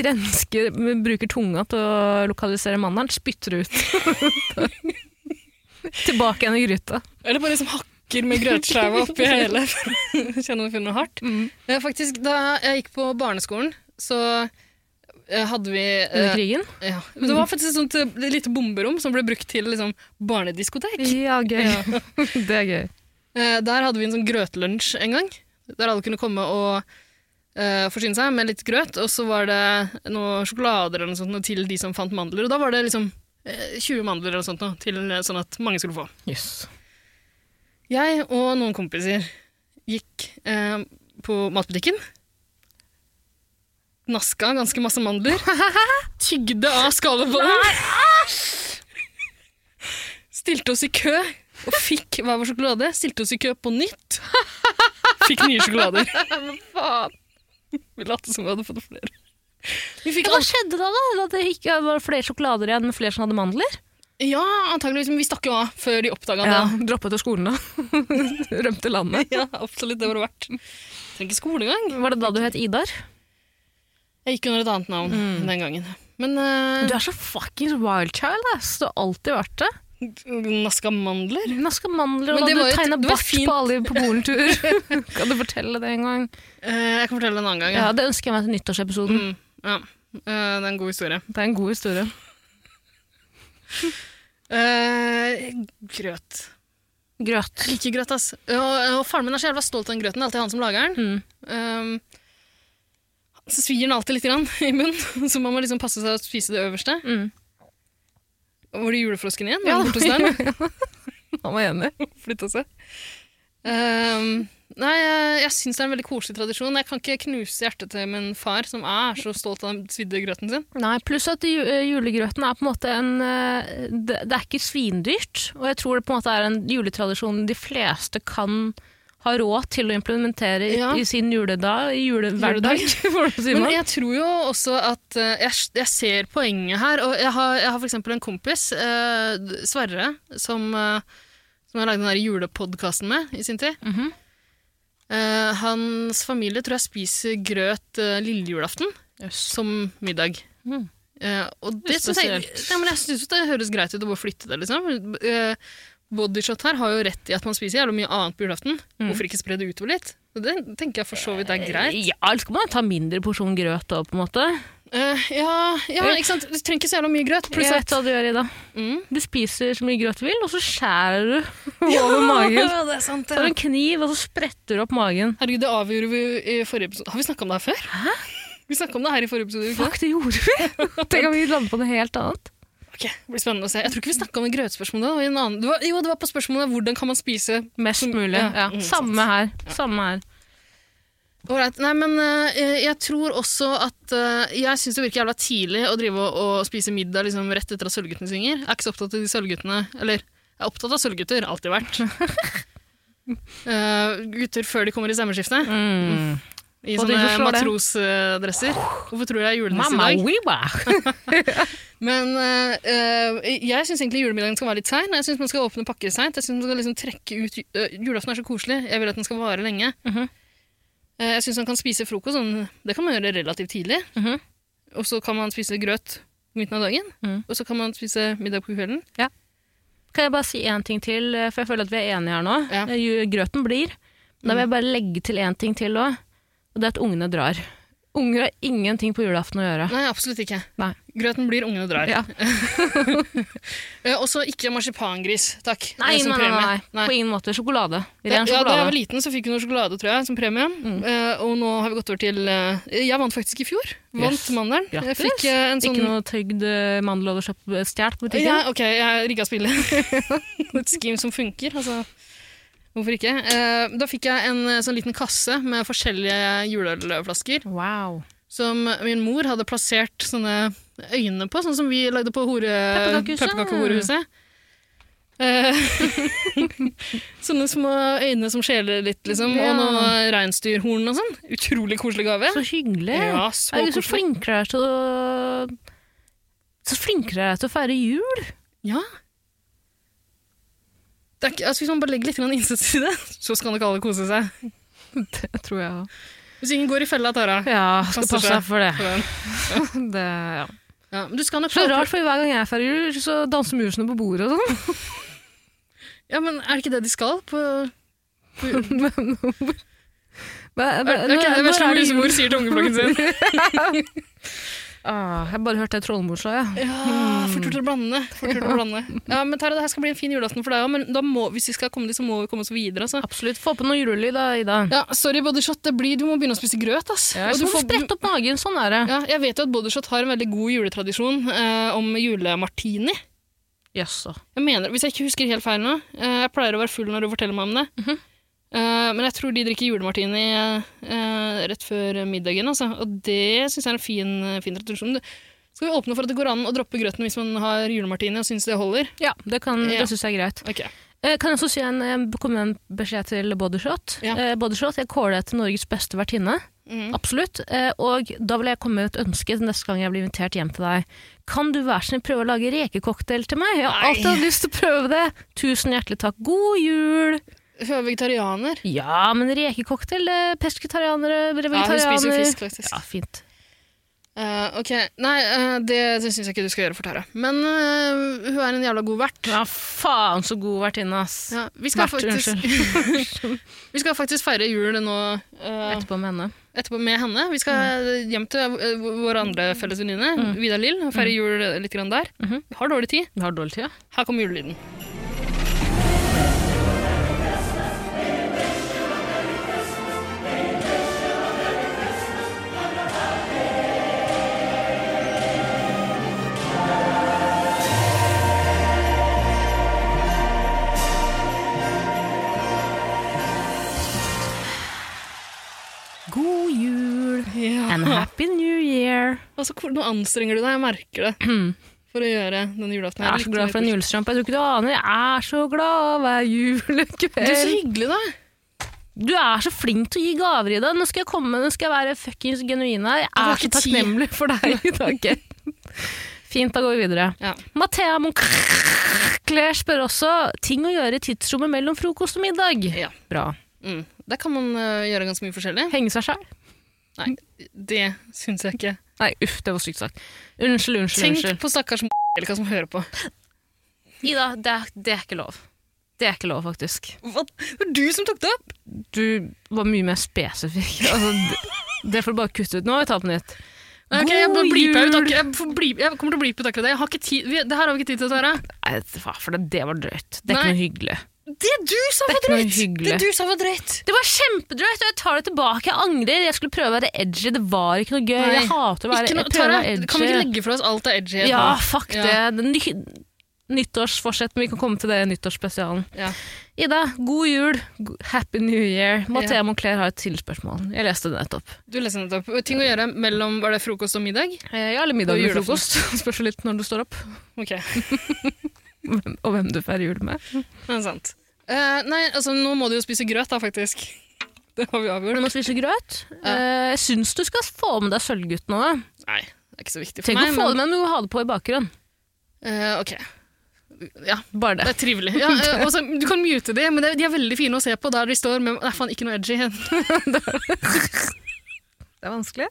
Speaker 1: rensker, bruker tunga til å lokalisere mandelen, spytter ut. Tilbake igjen i gryta.
Speaker 2: Eller bare liksom hakker med grøtskjeva oppi hele for å kjenne om jeg finner noe hardt.
Speaker 1: Mm.
Speaker 2: Eh, faktisk, da jeg gikk på barneskolen, så eh, hadde vi eh,
Speaker 1: Under krigen.
Speaker 2: ja. Det var faktisk et sånt eh, lite bomberom som ble brukt til liksom, barnediskotek.
Speaker 1: Ja, gøy. Det er gøy.
Speaker 2: Eh, der hadde vi en sånn grøtlunsj en gang, der alle kunne komme og eh, forsyne seg med litt grøt, og så var det noen sjokolader eller noe sånt noe til de som fant mandler, og da var det liksom eh, 20 mandler eller noe sånt noe, til, eh, sånn at mange skulle få.
Speaker 1: Yes.
Speaker 2: Jeg og noen kompiser gikk eh, på matbutikken, naska ganske masse mandler, tygde av skallebollen, stilte oss i kø og fikk hver vår sjokolade, stilte oss i kø på nytt, fikk nye sjokolader.
Speaker 1: Faen.
Speaker 2: Vi lot som vi hadde fått flere. Vi fikk
Speaker 1: Hva
Speaker 2: alt.
Speaker 1: skjedde da, da? At det ikke var flere sjokolader igjen, men flere som hadde mandler?
Speaker 2: Ja, antageligvis, men vi stakk jo av før de oppdaga det.
Speaker 1: Droppet til skolen, da. Rømte landet.
Speaker 2: Ja, absolutt, det var det verdt. Trenger ikke skolegang.
Speaker 1: Var det da du het Idar?
Speaker 2: Jeg gikk under et annet navn den gangen. Men eh,
Speaker 1: Mm. Du er så fuckings wild child, ass. Du har alltid vært det.
Speaker 2: Naska mandler?
Speaker 1: Naska mandler,
Speaker 2: Men
Speaker 1: og
Speaker 2: det
Speaker 1: da
Speaker 2: var
Speaker 1: du
Speaker 2: jo-
Speaker 1: tegna
Speaker 2: det var
Speaker 1: bart
Speaker 2: fint.
Speaker 1: på alle på polentur. kan du fortelle det en gang?
Speaker 2: Eh, jeg kan fortelle det en annen gang.
Speaker 1: Ja,
Speaker 2: Ja.
Speaker 1: Det ønsker jeg meg til nyttårsepisoden.
Speaker 2: Mm, ja. Eh, det er en god historie.
Speaker 1: Det er en god historie.
Speaker 2: Eh, grøt.
Speaker 1: Grøt.
Speaker 2: Jeg liker grøt, ass. Og, og faren min er så jævla stolt av den grøten. Det er alltid han som lager den.
Speaker 1: Mm.
Speaker 2: Ehm, så svir den alltid litt grann, i munnen, så man må liksom passe seg å spise det øverste.
Speaker 1: Mm.
Speaker 2: Var det julefrosken igjen?
Speaker 1: Ja,
Speaker 2: Den borte hos deg?
Speaker 1: Han var enig.
Speaker 2: flytta seg. Ehm, nei, jeg, jeg syns det er en veldig koselig tradisjon. Jeg kan ikke knuse hjertet til min far, som er så stolt av den svidde grøten sin.
Speaker 1: Nei, Pluss at ju- eh, julegrøten er på en måte en eh, Det det er ikke svindyrt, og jeg tror det på en måte er en juletradisjon de fleste kan ha råd til å implementere i,
Speaker 2: Ja.
Speaker 1: i sin juledag, i julehverdag. hvordan sier
Speaker 2: Men
Speaker 1: man?
Speaker 2: jeg tror jo også at eh, jeg, jeg ser poenget her. Og jeg har, jeg har for eksempel en kompis, eh, Sverre, som, eh, som jeg lagde den der julepodkasten med i sin tid.
Speaker 1: Mhm.
Speaker 2: Eh, hans familie tror jeg spiser grøt uh, lille julaften
Speaker 1: Jøss.
Speaker 2: som middag.
Speaker 1: Mm.
Speaker 2: Eh, og det
Speaker 1: Litt
Speaker 2: synes jeg,
Speaker 1: spesielt.
Speaker 2: ja, men jeg syns det høres greit ut å bare flytte det, liksom. Eh, Bodyshot her har jo rett i at man spiser jævlig mye annet på julaften.
Speaker 1: Mm. Eh,
Speaker 2: Hvorfor ikke spre det utover litt? Og Det tenker jeg for så vidt er greit.
Speaker 1: Ja, eller skal man ta mindre porsjon grøt òg, på en måte?
Speaker 2: Eh, ja, ja, ikke sant? Du trenger ikke så jævla mye grøt. Pluss
Speaker 1: jeg
Speaker 2: at
Speaker 1: vet hva du gjør, Ida.
Speaker 2: mm.
Speaker 1: Du spiser så mye grøt du vil, og så skjærer du over magen.
Speaker 2: det er sant.
Speaker 1: Så har du en kniv, og så spretter du opp magen.
Speaker 2: Herregud, det avgjorde vi i forrige episode. Har vi snakka om det her før? Vi snakka om det her i forrige episode. ikke sant?
Speaker 1: Fuck, det gjorde vi! Tenk om vi lander på noe helt annet.
Speaker 2: Ok, det blir spennende å se. Jeg tror ikke vi snakka om det grøtspørsmålet. Det var i en annen- Det var, jo, det var på spørsmålet hvordan kan man spise
Speaker 1: Mest mulig.
Speaker 2: ja,
Speaker 1: Ja.
Speaker 2: mm,
Speaker 1: Samme her. Samme her.
Speaker 2: Ålreit. Nei, men eh, jeg tror også at eh, Jeg syns det virker jævla tidlig å drive og, og spise middag liksom, rett etter at Sølvguttene synger. Jeg er ikke så opptatt av de sølvguttene Eller, jeg er opptatt av sølvgutter. Alltid vært. Eh, gutter før de kommer i stemmeskiftet.
Speaker 1: Mm.
Speaker 2: I
Speaker 1: Og de
Speaker 2: sånne
Speaker 1: forstår det.
Speaker 2: matrosdresser. Hvorfor tror du jeg er julenisse
Speaker 1: Mamma,
Speaker 2: i dag?
Speaker 1: we were.
Speaker 2: Men eh, eh, jeg syns egentlig julemiddagen skal være litt sein. Jeg syns man skal åpne pakker seint. Jeg synes man skal liksom trekke ut ju- eh, Julaften er så koselig. Jeg vil at den skal vare lenge.
Speaker 1: Mhm.
Speaker 2: Eh, jeg syns man kan spise frokost. Sånn, det kan man gjøre relativt tidlig.
Speaker 1: Mhm.
Speaker 2: Og så kan man spise grøt i midten av dagen.
Speaker 1: Mhm.
Speaker 2: Og så kan man spise middag på kvelden.
Speaker 1: Kan jeg bare si én ting til, eh, for jeg føler at vi er enige her nå. Eh,
Speaker 2: Ja.
Speaker 1: Ju- Grøten blir. Da vil jeg bare legge til én ting til òg, og det er at ungene drar. Unger har ingenting på julaften å gjøre.
Speaker 2: Nei, absolutt ikke.
Speaker 1: Nei.
Speaker 2: Grøten blir, ungene drar.
Speaker 1: Ja.
Speaker 2: Eh, og så ikke marsipangris, takk.
Speaker 1: Nei, nei,
Speaker 2: eh, som
Speaker 1: nei,
Speaker 2: premie.
Speaker 1: nei, på ingen måte. Sjokolade. Ren
Speaker 2: ja, da jeg var
Speaker 1: sjokolade. Mm.
Speaker 2: liten, så fikk vi noe sjokolade tror jeg, som premie. Eh, og nå har vi gått over til eh, Jeg vant faktisk i fjor. Vant
Speaker 1: Yes.
Speaker 2: mandelen. Jeg
Speaker 1: Grattis.
Speaker 2: fikk eh, en sånn
Speaker 1: Ikke noe tøgd eh, mandel og stjålet på butikken.
Speaker 2: ja, Ok, jeg rigga spillet. Et scheme som funker. Altså, hvorfor ikke? Eh, da fikk jeg en eh, sånn liten kasse med forskjellige juleølflasker
Speaker 1: Wow.
Speaker 2: som min mor hadde plassert sånne øyne på, sånn som vi lagde på hore-
Speaker 1: Pepperkakehuset.
Speaker 2: pepperkakehorehuset. Eh, sånne små øyne som skjeler litt, liksom,
Speaker 1: Ja.
Speaker 2: og noen reinsdyrhorn og sånn. Utrolig koselig gave.
Speaker 1: Så hyggelig.
Speaker 2: Ja,
Speaker 1: så,
Speaker 2: så
Speaker 1: er du så
Speaker 2: koselig.
Speaker 1: flinke dere er til å Så flinke dere er til å feire jul.
Speaker 2: Ja. Det er ikke, altså, hvis man bare legger litt grann innsats i det, så skal nok alle kose seg.
Speaker 1: Det tror jeg òg.
Speaker 2: Hvis ingen går i fella, Tara.
Speaker 1: Ja, skal
Speaker 2: Passer
Speaker 1: passe
Speaker 2: seg.
Speaker 1: deg for det.
Speaker 2: for den.
Speaker 1: det ja.
Speaker 2: Ja, men du skal nok
Speaker 1: Så
Speaker 2: få
Speaker 1: rart, for hver gang jeg feirer jul, så danser musene på bordet og sånn.
Speaker 2: Ja, men er det ikke det de skal? På, på er,
Speaker 1: Men- men- men-
Speaker 2: er ikke det
Speaker 1: når
Speaker 2: det verste
Speaker 1: Eh, er det jul?
Speaker 2: husmor sier til ungeflokken sin?
Speaker 1: Ah, jeg bare hørte det trollmorsa, jeg.
Speaker 2: Ja, fort gjort å blande. Fort gjort å blande. Ja, men Tara, det her skal bli en fin julaften for deg òg, men da må, hvis vi skal komme dit, så må vi komme oss videre. Altså.
Speaker 1: Absolutt. Få på noe julelyd da, Ida.
Speaker 2: Ja, sorry, bodyshot. Det blir, du må begynne å spise grøt, ass.
Speaker 1: Ja, så
Speaker 2: Og du
Speaker 1: må du
Speaker 2: får-
Speaker 1: sprette opp magen. Sånn er det.
Speaker 2: ja, jeg vet jo at bodyshot har en veldig god juletradisjon eh, om julemartini.
Speaker 1: Jaså.
Speaker 2: Jeg mener, Hvis jeg ikke husker helt feil nå eh, Jeg pleier å være full når du forteller meg om det. Eh, men jeg tror de drikker julemartini eh, rett før middagen. Altså. Og det syns jeg er en fin, fin tradisjon. Det- Skal vi åpne for at det går an å droppe grøten hvis man har julemartini og syns det holder?
Speaker 1: Ja, det, kan-
Speaker 2: Ja.
Speaker 1: det syns jeg er greit.
Speaker 2: Ok.
Speaker 1: Eh, Kan jeg også si en, jeg kom med en beskjed til Bodyshot.
Speaker 2: Ja.
Speaker 1: Eh, Bodyshot, jeg kåler deg til Norges beste vertinne.
Speaker 2: Mhm.
Speaker 1: Absolutt. Eh, Og da vil jeg komme med et ønske til neste gang jeg blir invitert hjem til deg. Kan du vær så snill prøve å lage rekecocktail til meg? Jeg har
Speaker 2: Nei.
Speaker 1: alltid hatt lyst til å prøve det. Tusen hjertelig takk. God jul!
Speaker 2: Hun er vegetarianer.
Speaker 1: Ja, men rekecocktail, eh, pesketarianere,
Speaker 2: Ja, hun spiser jo
Speaker 1: vegetarianer
Speaker 2: fisk, faktisk.
Speaker 1: Ja, fint.
Speaker 2: Eh, ok, Nei, eh, det, det syns jeg ikke du skal gjøre for Tara. Men eh, hun er en jævla god vert.
Speaker 1: Ja, faen så god vertinne, ass.
Speaker 2: Ja, vi, skal
Speaker 1: Vert,
Speaker 2: faktisk, vi skal faktisk feire jul nå eh,
Speaker 1: Etterpå med henne.
Speaker 2: etterpå med henne. Vi skal
Speaker 1: Mm.
Speaker 2: hjem til eh, vår andre felles venninne, Vida Lill, og
Speaker 1: Mm.
Speaker 2: feire jul litt grann der.
Speaker 1: Mhm.
Speaker 2: Vi har dårlig tid.
Speaker 1: Vi har dårlig tid, ja.
Speaker 2: Her kommer julelyden.
Speaker 1: God jul and happy new year.
Speaker 2: Altså, hvor- nå anstrenger du deg, jeg merker det, for å gjøre denne julaften. her
Speaker 1: Mm. Jeg er så
Speaker 2: litt
Speaker 1: glad for en
Speaker 2: mer
Speaker 1: julestrømpe. Jeg tror ikke du aner. Jeg er så glad hver
Speaker 2: positiv. Du er så
Speaker 1: julekveld.
Speaker 2: hyggelig, da.
Speaker 1: Du er så flink til å gi gaver, Ida. Nå skal jeg komme, nå skal jeg være fuckings genuin her. Jeg
Speaker 2: Jeg har
Speaker 1: er så
Speaker 2: ikke tid.
Speaker 1: takknemlig for deg i dag. Fint, da går vi videre.
Speaker 2: Ja.
Speaker 1: Mathea Moncler spør også ting å gjøre i tidsrommet mellom frokost og middag.
Speaker 2: Ja.
Speaker 1: Bra.
Speaker 2: Mm. Der kan man eh, gjøre ganske mye forskjellig.
Speaker 1: Henge seg sjæl?
Speaker 2: Nei, det syns jeg ikke.
Speaker 1: Nei, uff, det var stygt sagt. Unnskyld, unnskyld,
Speaker 2: Tenk
Speaker 1: unnskyld.
Speaker 2: på stakkars Angelica som hører på.
Speaker 1: Ida, det er, det er ikke lov. Det er ikke lov, faktisk.
Speaker 2: Hva? Det var du som tok det opp!
Speaker 1: du var mye mer spesifikk. Altså, det, det får du bare kutte ut. Nå må vi ta på nytt.
Speaker 2: Ok, jeg, bare bleeper ut akkurat- jeg, får bleep- jeg kommer til å bleepe ut akkurat det. Jeg har ikke tid. Vi- Det her har vi ikke tid til, Tara.
Speaker 1: Nei, faen, for det, det var drøyt. Det er
Speaker 2: Nei.
Speaker 1: ikke noe hyggelig.
Speaker 2: Det du
Speaker 1: Det er
Speaker 2: sa var
Speaker 1: ikke noe
Speaker 2: drøyt!
Speaker 1: hyggelig.
Speaker 2: Det du sa var drøyt!
Speaker 1: Det var kjempedrøyt, og jeg tar det tilbake. Jeg angrer. Jeg skulle prøve å være edgy. Det var ikke noe gøy.
Speaker 2: Nei.
Speaker 1: Jeg hater å være
Speaker 2: Ikke
Speaker 1: prøve
Speaker 2: noe,
Speaker 1: å
Speaker 2: Tara,
Speaker 1: være edgy.
Speaker 2: kan vi ikke legge fra oss alt av edgy?
Speaker 1: Ja, fuck
Speaker 2: Ja.
Speaker 1: det. det er ny, nyttårsforsett, men vi kan komme til det i nyttårsspesialen.
Speaker 2: Ja.
Speaker 1: Ida, god jul. Go- Happy New Year. Mathea
Speaker 2: Ja.
Speaker 1: Moncler har et tilspørsmål. Jeg leste det nettopp.
Speaker 2: Du leste nettopp. Ting å gjøre mellom var det frokost og middag?
Speaker 1: Eh, Ja, eller middag
Speaker 2: Og
Speaker 1: eller
Speaker 2: julaften.
Speaker 1: frokost. Spørs jo litt når du står opp,
Speaker 2: Ok,
Speaker 1: og hvem du feirer jul med.
Speaker 2: det er sant. Eh, nei, altså nå må du jo spise grøt da, faktisk. Det har vi
Speaker 1: Du
Speaker 2: avgjort.
Speaker 1: må spise grøt. Eh, Jeg syns du skal få med deg Sølvgutten nå.
Speaker 2: Nei, det er ikke så viktig for
Speaker 1: Tenk
Speaker 2: meg.
Speaker 1: å få det med, men du må ha det på i bakgrunnen.
Speaker 2: Eh, ok,
Speaker 1: Bare
Speaker 2: det
Speaker 1: det.
Speaker 2: er trivelig. Ja, eh, også, du kan mute det, men det, de er veldig fine å se på der de står med Nei, faen, ikke noe edgy.
Speaker 1: Det er vanskelig.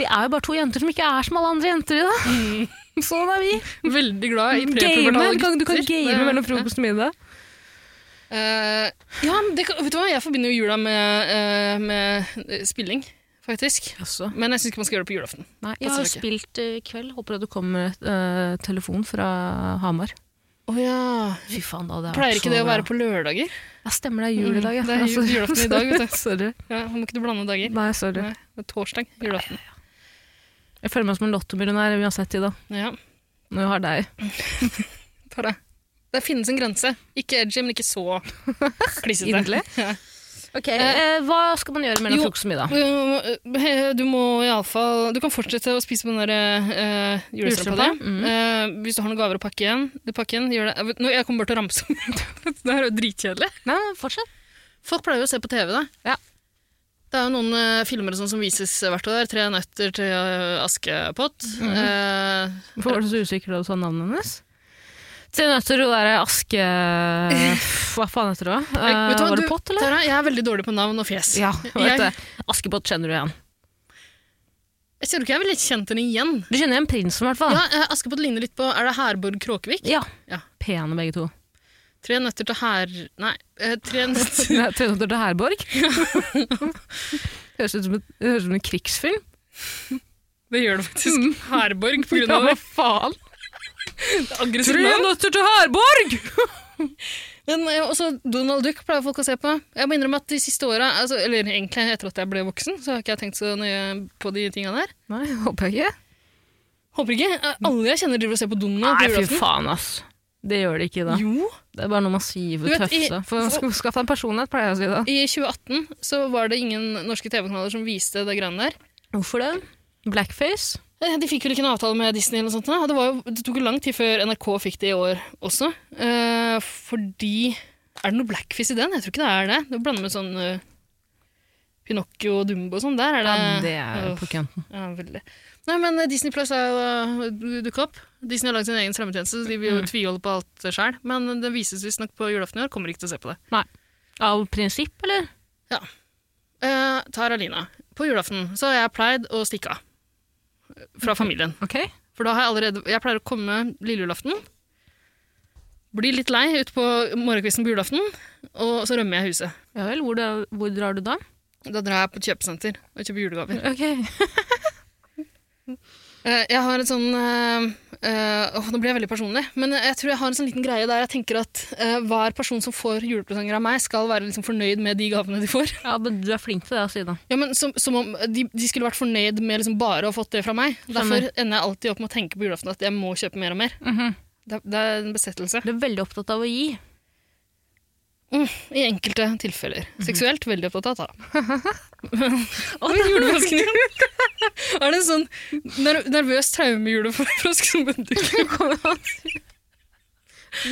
Speaker 1: Vi er jo bare to jenter som ikke er som alle andre jenter i dag. Sånn er vi.
Speaker 2: Veldig glad i
Speaker 1: Game.
Speaker 2: prepubertale
Speaker 1: Kan, du kan
Speaker 2: gutter.
Speaker 1: game
Speaker 2: Det-
Speaker 1: mellom frokost og middag.
Speaker 2: Eh, ja, men det, kan- vet du hva? Jeg forbinder jo jula med, eh, med eh, spilling, faktisk.
Speaker 1: Også.
Speaker 2: Men jeg syns ikke man skal gjøre det på julaften.
Speaker 1: Nei, jeg
Speaker 2: Passer
Speaker 1: har
Speaker 2: det ikke.
Speaker 1: spilt eh, i kveld. Håper at du kommer eh, telefon fra Hamar.
Speaker 2: Å ja.
Speaker 1: Fy faen, da. Det er
Speaker 2: Pleier ikke det å
Speaker 1: bra.
Speaker 2: være på lørdager?
Speaker 1: Ja, stemmer, det er jul i dag. Ja. Altså,
Speaker 2: Mm, det er jul- julaften i dag, vet du.
Speaker 1: sorry.
Speaker 2: Ja, må ikke du blande dager?
Speaker 1: Nei, sorry.
Speaker 2: Nei, det er torsdag, julaften.
Speaker 1: Jeg føler meg som en lottomillionær uansett, Ida.
Speaker 2: Ja,
Speaker 1: Når jeg har deg.
Speaker 2: ta det. Det finnes en grense. Ikke edgy, men ikke så klissete.
Speaker 1: Inderlig.
Speaker 2: Ja.
Speaker 1: Ok, eh, Hva skal man gjøre mellom
Speaker 2: jo.
Speaker 1: frokost og middag?
Speaker 2: Du må- eh, Du må iallfall Du kan fortsette å spise på den der uh, julestrømpa
Speaker 1: Julestrømpa,
Speaker 2: di.
Speaker 1: mm.
Speaker 2: Eh, hvis du har noen gaver å pakke igjen, du pakker igjen gjør det. Nå, jeg kommer bare til å ramse om det. Det her er jo dritkjedelig.
Speaker 1: Nei, nei, fortsett.
Speaker 2: Folk pleier jo å se på TV, da.
Speaker 1: Ja.
Speaker 2: Det er jo noen eh, filmer og sånn som vises hvert år. 'Tre nøtter til eh, Askepott'. Eh,
Speaker 1: Hvorfor var du så usikker da du sa navnet hennes? Tre nøtter, hun derre Aske... Hva faen heter hun? Eh,
Speaker 2: vet du hva,
Speaker 1: var
Speaker 2: du-
Speaker 1: det Pott, eller?
Speaker 2: Tara, jeg er veldig dårlig på navn og fjes.
Speaker 1: Ja,
Speaker 2: Jeg-
Speaker 1: vet du. Askepott kjenner du igjen.
Speaker 2: Jeg ser jo ikke jeg ville kjent henne igjen.
Speaker 1: Du kjenner igjen prinsen, i hvert fall.
Speaker 2: Ja, eh, Askepott ligner litt på Er det Herborg Kråkevik?
Speaker 1: Ja.
Speaker 2: Ja.
Speaker 1: Pene begge to.
Speaker 2: Tre nøtter til her... Nei. eh, tre nøtter
Speaker 1: Nei, Tre nøtter til Herborg. Høres ut som, et, høres ut som en krigsfilm.
Speaker 2: Det gjør det faktisk. Herborg på grunn
Speaker 1: Ja,
Speaker 2: av
Speaker 1: hva faen?
Speaker 2: det aggressive
Speaker 1: Tre
Speaker 2: navn.
Speaker 1: nøtter til Herborg!
Speaker 2: Men eh, også Donald Duck pleier folk å se på. Jeg må innrømme at de siste åra, altså, eller egentlig etter at jeg ble voksen, så har ikke jeg tenkt så nøye på de tinga der.
Speaker 1: Nei, håper jeg ikke.
Speaker 2: Håper ikke. Eh, Alle jeg kjenner driver og ser på Donald
Speaker 1: Nei,
Speaker 2: på
Speaker 1: fy
Speaker 2: julaften.
Speaker 1: faen, ass. Det gjør det ikke, da.
Speaker 2: Jo.
Speaker 1: Det er bare noe massive
Speaker 2: Du vet, i-
Speaker 1: tøfse. For å sk- Skaff deg en personlighet, pleier jeg å si da.
Speaker 2: I 2018 så var det ingen norske TV-kanaler som viste det greiene der.
Speaker 1: Hvorfor det? Blackface?
Speaker 2: Eh, De fikk vel ikke en avtale med Disney, eller noe sånt, da. og det, var jo, det tok jo lang tid før NRK fikk det i år også. Eh, fordi Er det noe blackfish i den? Jeg tror ikke det er det. Det blander med sånn eh, Pinocchio og Dumbo og sånn. Der er det
Speaker 1: det er på kønten.
Speaker 2: Ja, veldig. Nei, men eh, Disney Plus er jo eh, dukket opp. Disney har laget sin egen strømmetjeneste, så de vil jo tviholde på alt sjøl. Men eh, det vises visstnok på julaften i år. Kommer ikke til å se på det.
Speaker 1: Av prinsipp, eller?
Speaker 2: eh, tar Alina. På julaften så har jeg pleid å stikke av fra familien.
Speaker 1: Ok?
Speaker 2: For da har jeg allerede Jeg pleier å komme lille julaften. Blir litt lei ute på morgenkvisten på julaften, og så rømmer jeg huset.
Speaker 1: Ja vel, hvor, da, hvor drar du da?
Speaker 2: Da drar jeg på et kjøpesenter og kjøper julegaver.
Speaker 1: Ok.
Speaker 2: Eh, Jeg har et sånn eh, eh, åh, Nå blir jeg veldig personlig, men jeg tror jeg har en sånn liten greie der jeg tenker at eh, hver person som får julepresanger av meg, skal være liksom fornøyd med de gavene de får.
Speaker 1: Ja, men du er flink til det, altså, Ida.
Speaker 2: Ja, men Som, som om de, de skulle vært fornøyd med liksom bare å ha fått det fra meg. Derfor
Speaker 1: Skjønner.
Speaker 2: ender jeg alltid opp med å tenke på julaften at jeg må kjøpe mer og mer.
Speaker 1: Mhm.
Speaker 2: det, det er en besettelse.
Speaker 1: Du er veldig opptatt av å gi.
Speaker 2: I enkelte tilfeller. Seksuelt veldig opptatt av.
Speaker 1: Mhm. Å,
Speaker 2: Og julefrosken din! er det en sånn ner nervøs traumejulefrosk som dukker opp?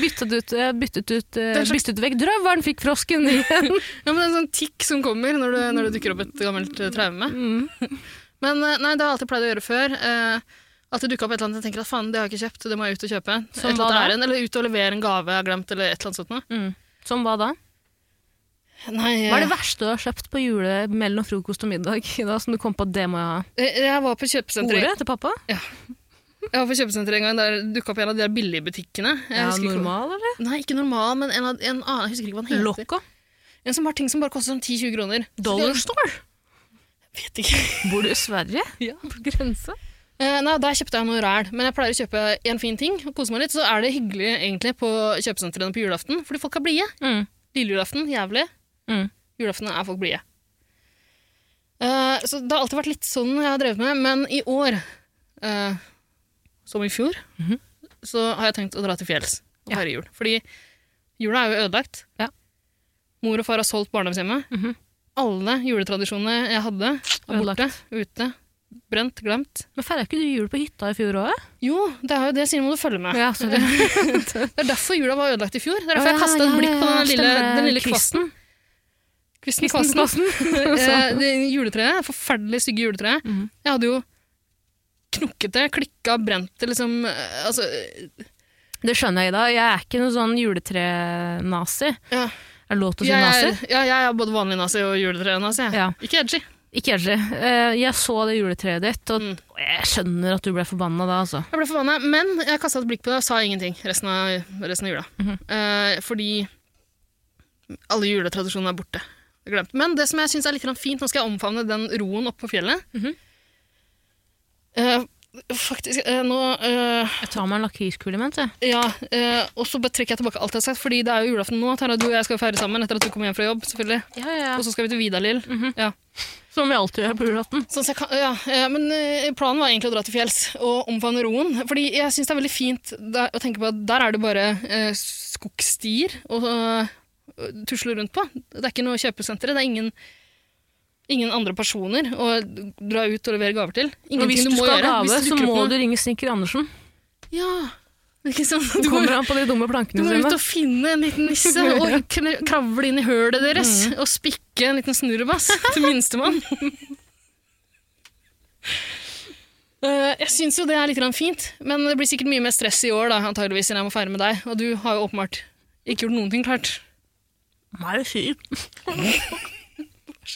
Speaker 1: Byttet ut, eh, byttet ut, eh,
Speaker 2: Det er en slags-
Speaker 1: byttet vekk drøvernfikkfrosken igjen.
Speaker 2: Ja, men det er en sånn tikk som kommer når det, når det dukker opp et gammelt eh, traume.
Speaker 1: Mm.
Speaker 2: Men eh, nei, det har jeg alltid pleid å gjøre før. Eh, at det dukker opp et eller annet jeg tenker at faen, det har jeg ikke kjøpt, det må jeg ut og kjøpe. Et
Speaker 1: Som
Speaker 2: eller,
Speaker 1: hva da?
Speaker 2: annet ærend, eller ut og levere en gave jeg har glemt, eller et eller annet sånt noe.
Speaker 1: Mm. Som hva da?
Speaker 2: Nei,
Speaker 1: Hva er det verste du har kjøpt på jule mellom frokost og middag? Ida, som du kom på at det må jeg ha?
Speaker 2: jeg, Eh, jeg var på kjøpesenteret
Speaker 1: Ordet til pappa?
Speaker 2: Jeg var på kjøpesenteret en gang der dukka opp en av de der billigbutikkene. Jeg
Speaker 1: Ja,
Speaker 2: husker ikke hva-
Speaker 1: normal, eller?
Speaker 2: Nei, ikke normal, men en, av, en annen. Jeg husker ikke hva den heter.
Speaker 1: Loco?
Speaker 2: En som har ting som bare koster sånn 10-20 kroner.
Speaker 1: Dollar store?
Speaker 2: Jeg vet ikke.
Speaker 1: Bor du i Sverige?
Speaker 2: Ja.
Speaker 1: På grense?
Speaker 2: Eh, nei, der kjøpte jeg noe ræl. Men jeg pleier å kjøpe en fin ting og kose meg litt. Så er det hyggelig egentlig på kjøpesentrene på julaften, fordi folk er blide.
Speaker 1: Mm.
Speaker 2: Lille julaften, jævlig.
Speaker 1: Mm.
Speaker 2: Julaften er folk blide. Eh, så det har alltid vært litt sånn jeg har drevet med, men i år, eh, som i fjor,
Speaker 1: Mhm.
Speaker 2: så har jeg tenkt å dra til fjells og
Speaker 1: Ja.
Speaker 2: feire jul. Fordi jula er jo ødelagt.
Speaker 1: Ja.
Speaker 2: Mor og far har solgt barndomshjemmet.
Speaker 1: Mhm.
Speaker 2: Alle juletradisjonene jeg hadde, er borte,
Speaker 1: Ødelagt.
Speaker 2: ute, brent, glemt.
Speaker 1: Men feira ikke du jul på hytta i fjor òg?
Speaker 2: Jo, det er jo det, Signe må du følge med.
Speaker 1: Ja, sorry.
Speaker 2: Det er derfor jula var ødelagt i fjor. Det er derfor jeg kastet et blikk på den lille, den lille kvasten. Kvisten, kvasten. Eh, det juletreet, forferdelig stygge juletreet.
Speaker 1: Mhm.
Speaker 2: Jeg hadde jo knukket det, klikka, brent det, liksom eh, Altså eh,
Speaker 1: Det skjønner jeg, Ida. Jeg er ikke noen sånn juletrenazi.
Speaker 2: ja.
Speaker 1: Er det lov til å si
Speaker 2: jeg,
Speaker 1: nazi?
Speaker 2: er- ja, jeg er både vanlig nazi og juletrenazi. jeg.
Speaker 1: Ja.
Speaker 2: Ikke edgy.
Speaker 1: Ikke edgy. Eh, Jeg så det juletreet ditt, og
Speaker 2: Mm.
Speaker 1: jeg skjønner at du ble forbanna da, altså.
Speaker 2: Jeg ble forbanna, men jeg kasta et blikk på det og sa ingenting resten av, resten av jula.
Speaker 1: Mhm.
Speaker 2: eh, fordi alle juletradisjonene er borte. Jeg Glemt. Men det som jeg syns er litt grann fint, nå skal jeg omfavne den roen oppe på fjellet.
Speaker 1: Mhm.
Speaker 2: Eh, faktisk, eh, nå eh,
Speaker 1: Jeg tar meg en lakriskule imens, jeg.
Speaker 2: Ja, eh, og så bare trekker jeg tilbake alt jeg har sagt, fordi det er jo julaften nå. Tara, du og jeg skal feire sammen etter at du kommer hjem fra jobb, selvfølgelig.
Speaker 1: Ja, ja.
Speaker 2: Og så skal vi til Vidalil. ja.
Speaker 1: Som vi alltid gjør på julaften.
Speaker 2: Sånn, så jeg kan, ja, eh, men eh, planen var egentlig å dra til fjells og omfavne roen. Fordi jeg syns det er veldig fint der, å tenke på at der er det bare eh, skogstier å eh, tusle rundt på. Det er ikke noe kjøpesenter. Det er ingen, ingen andre personer å dra ut og levere gaver til.
Speaker 1: Og hvis du
Speaker 2: Ingenting du, må
Speaker 1: skal ha
Speaker 2: gjøre.
Speaker 1: gave,
Speaker 2: hvis
Speaker 1: så må
Speaker 2: dukker opp
Speaker 1: du ringe snekker Andersen.
Speaker 2: noe- Ja, ikke sant?
Speaker 1: Du
Speaker 2: Du må,
Speaker 1: kommer han på de dumme
Speaker 2: du
Speaker 1: plankene
Speaker 2: må ut
Speaker 1: sine.
Speaker 2: og finne en liten nisse og kn- kravle inn i hølet deres og spikke en liten snurrebass til minstemann. Eh, jeg syns jo det er litt grann fint, men det blir sikkert mye mer stress i år da, antageligvis, enn jeg må feire med deg. Og du har jo åpenbart ikke gjort noen ting klart.
Speaker 1: Nei, fy.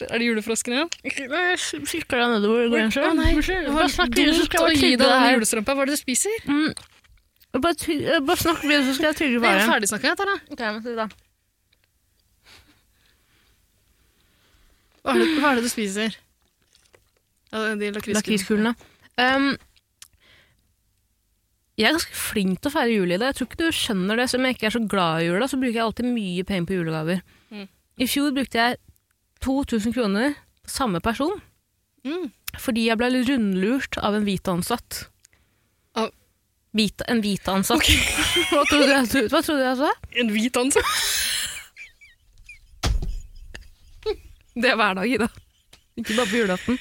Speaker 2: Er det julefrosken igjen?
Speaker 1: Kikker deg nedover grensa.
Speaker 2: Å, nei.
Speaker 1: Bare
Speaker 2: Hva
Speaker 1: snakk videre, så
Speaker 2: dumt
Speaker 1: skal
Speaker 2: å
Speaker 1: jeg
Speaker 2: gi
Speaker 1: tygge
Speaker 2: deg
Speaker 1: det
Speaker 2: den
Speaker 1: her.
Speaker 2: julestrømpa. Hva er det du spiser?
Speaker 1: Mm. Bare, ty bare snakk videre, så skal jeg tygge
Speaker 2: Det er jo
Speaker 1: bare.
Speaker 2: ferdigsnakka, jeg, Tara.
Speaker 1: Ok, men si da.
Speaker 2: Hva er det, hva er det du spiser? Ja, de lakriskulene.
Speaker 1: Lakriskulene. Um, jeg er ganske flink til å feire jul i det. Jeg tror ikke du skjønner det. Selv om jeg ikke er så glad i jula, så bruker jeg alltid mye penger på julegaver.
Speaker 2: Mm.
Speaker 1: I fjor brukte jeg 2000 kroner på samme person,
Speaker 2: Mm.
Speaker 1: fordi jeg ble rundlurt av en hvit ansatt.
Speaker 2: Av-
Speaker 1: Hvit- en hvit ansatt. hva, trodde jeg, hva trodde jeg sa?
Speaker 2: En hvit ansikt.
Speaker 1: Det er hver dag, Ida. Ikke bare på julaften.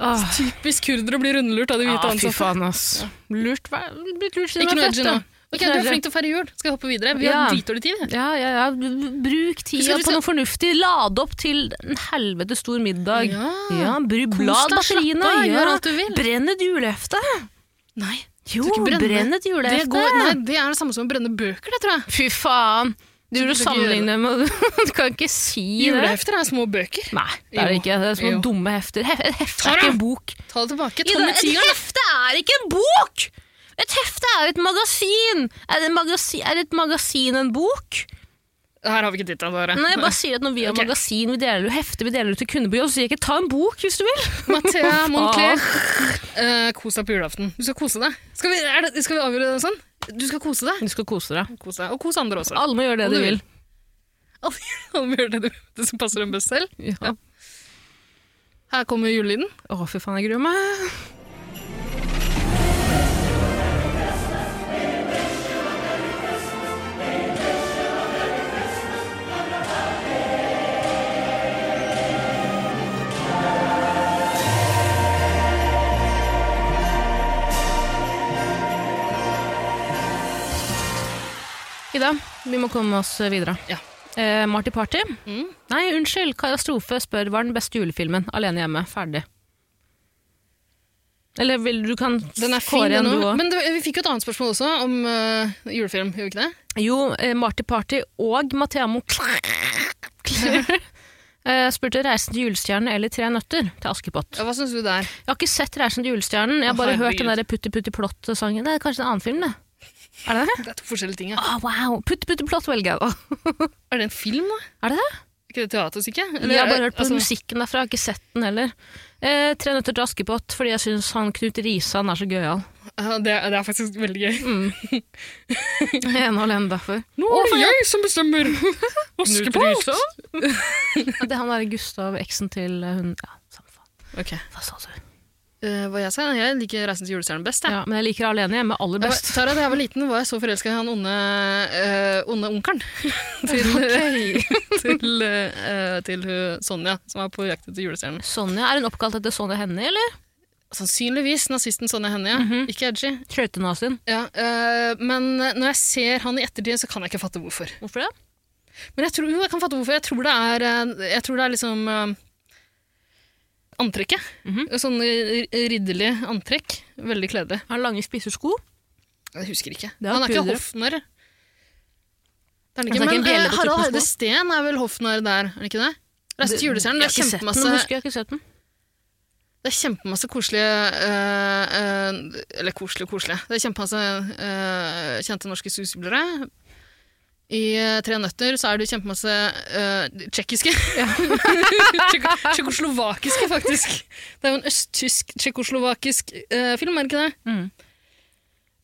Speaker 1: Ah, Åh,
Speaker 2: Typisk kurdere blir rundlurt av de
Speaker 1: ja,
Speaker 2: hvite
Speaker 1: Ah, fy
Speaker 2: ansatte.
Speaker 1: faen, ass. Lurt, hver- blitt lurt siden
Speaker 2: Ikke
Speaker 1: jeg
Speaker 2: noe
Speaker 1: var
Speaker 2: edgy
Speaker 1: fett,
Speaker 2: nå.
Speaker 1: da.
Speaker 2: Ok, Du er flink til å feire jul. Skal jeg hoppe videre? Vi
Speaker 1: Ja.
Speaker 2: har dritdårlig tid. vi.
Speaker 1: Ja, ja, ja. B- Bruk tida
Speaker 2: Husker du
Speaker 1: på
Speaker 2: så-
Speaker 1: noe fornuftig. Lade opp til en helvete stor middag.
Speaker 2: Ja.
Speaker 1: bry,
Speaker 2: Kos
Speaker 1: blad
Speaker 2: deg, slapp
Speaker 1: batteriene.
Speaker 2: av,
Speaker 1: Ja.
Speaker 2: gjør alt du vil.
Speaker 1: Brenn et julehefte.
Speaker 2: Nei,
Speaker 1: Jo,
Speaker 2: ikke brenne.
Speaker 1: brenn et
Speaker 2: det,
Speaker 1: julehefte.
Speaker 2: går, nei, det er det samme som å brenne bøker, det, tror jeg.
Speaker 1: Fy faen. Du vil jo
Speaker 2: Så du kan ikke
Speaker 1: sammenligne med Du kan ikke si det.
Speaker 2: Julehefter er små bøker.
Speaker 1: Nei, det er det
Speaker 2: Jo.
Speaker 1: ikke. Det er små
Speaker 2: Jo.
Speaker 1: dumme hefter. Hef, et hefte
Speaker 2: Ta
Speaker 1: er
Speaker 2: det!
Speaker 1: ikke en bok.
Speaker 2: Ta det tilbake. Ta
Speaker 1: Ida,
Speaker 2: med
Speaker 1: et
Speaker 2: tigeren.
Speaker 1: hefte er ikke en bok! Et hefte er jo et magasin! Er et magasin, er et magasin en bok?
Speaker 2: Her har vi ikke titta, dere.
Speaker 1: Nei, jeg bare sier at når vi har
Speaker 2: Ok.
Speaker 1: magasin, vi deler jo hefte, vi deler ut til kunder på jobb, så sier jeg ikke ta en bok hvis du vil.
Speaker 2: Mathea Moncler, eh, kos deg på julaften. Du skal kose deg. Skal vi, er det, skal vi avgjøre det sånn? Du skal kose deg.
Speaker 1: Du skal kose deg.
Speaker 2: Kos deg. Og kos andre også.
Speaker 1: Alle må gjøre det
Speaker 2: Om
Speaker 1: de
Speaker 2: du
Speaker 1: vil.
Speaker 2: vil. Alle må gjøre det, du- det som passer dem best selv.
Speaker 1: Ja.
Speaker 2: Her kommer julelyden.
Speaker 1: Å, fy faen, jeg gruer meg. Ida, vi må komme oss videre.
Speaker 2: Ja.
Speaker 1: Eh, Marty Party.
Speaker 2: Mm.
Speaker 1: Nei, unnskyld. Katastrofe spør hva er den beste julefilmen. Alene hjemme. Ferdig. Eller vil du kan
Speaker 2: Den er fin,
Speaker 1: kåre
Speaker 2: den
Speaker 1: en du
Speaker 2: òg.
Speaker 1: òg.
Speaker 2: Men det, vi fikk jo et annet spørsmål også, om eh, julefilm. Gjorde vi ikke det?
Speaker 1: Jo, eh, Marty Party og Mathea Moncler eh, spurte 'Reisen til julestjernen' eller 'Tre nøtter' til Askepott.
Speaker 2: Ja, hva syns du der?
Speaker 1: Jeg har ikke sett 'Reisen til julestjernen', jeg har
Speaker 2: Å,
Speaker 1: bare hørt den
Speaker 2: herregud.
Speaker 1: der Putti Putti Plott-sangen. Det er kanskje en annen film, det. Er det det?
Speaker 2: Det er to forskjellige ting. Ja.
Speaker 1: Å, wow! Putti Putti Plott velger jeg, da.
Speaker 2: Er det en film, da?
Speaker 1: Er det det?
Speaker 2: Er Ikke det teaterstykke? Eller,
Speaker 1: Jeg har bare hørt på
Speaker 2: altså,
Speaker 1: musikken derfra, jeg har ikke sett den heller. Eh, 'Tre nøtter til Askepott', fordi jeg syns han Knut Risan er så gøyal.
Speaker 2: ja, det, er- det er faktisk veldig gøy.
Speaker 1: Mm. Ene og alene derfor.
Speaker 2: Nå er det jeg som bestemmer! Askepott!
Speaker 1: Ja, det er han der Gustav, eksen til eh, hun Ja, samme faen.
Speaker 2: Ok.
Speaker 1: Hva sa du?
Speaker 2: Eh, hva jeg sa? Jeg liker 'Reisen til julestjernen' best. Jeg.
Speaker 1: Ja, men jeg liker alene hjemme aller
Speaker 2: Jeg var,
Speaker 1: best.
Speaker 2: Tara, da jeg var liten, var jeg så forelska i han onde, eh, onde onkelen. til til, eh, til hun Sonja, som er på jakt etter julestjernen.
Speaker 1: Sonja, Er hun oppkalt etter Sonja Hennie, eller?
Speaker 2: Sannsynligvis nazisten Sonja Hennie.
Speaker 1: Mhm.
Speaker 2: Ikke Edgy.
Speaker 1: Trøytenazien.
Speaker 2: Ja, eh, men når jeg ser han i ettertid, så kan jeg ikke fatte hvorfor.
Speaker 1: Hvorfor det?
Speaker 2: Men jeg tror, jo, jeg kan fatte hvorfor. Jeg tror det er, eh, jeg tror det er liksom eh, Antrekket.
Speaker 1: Mhm.
Speaker 2: Sånn ri- ridderlig antrekk. Veldig kledelig.
Speaker 1: Har han lange, spisse sko?
Speaker 2: Jeg husker ikke.
Speaker 1: Det er
Speaker 2: han er ikke
Speaker 1: pudre.
Speaker 2: hoffnarr. Det er han
Speaker 1: Altså, det er
Speaker 2: ikke,
Speaker 1: ikke en
Speaker 2: men
Speaker 1: bjelle
Speaker 2: eh,
Speaker 1: på
Speaker 2: Harald
Speaker 1: tuppen
Speaker 2: Heide
Speaker 1: sko.
Speaker 2: Steen er vel hoffnarr der, er det ikke det? Reise til julestjernen. Det
Speaker 1: Jeg har
Speaker 2: er
Speaker 1: ikke sett den, men
Speaker 2: kjempemasse,
Speaker 1: husker jeg har ikke sett den.
Speaker 2: det er kjempemasse koselige eh, eh, Eller koselige og koselige. Det er kjempemasse eh, kjente norske skuespillere. I eh, Tre nøtter så er det kjempemasse eh, tsjekkiske. Tsjekko- Tsjekkoslovakiske, faktisk. Det er jo en østtysk-tsjekkoslovakisk eh, film, er det ikke det?
Speaker 1: Mm.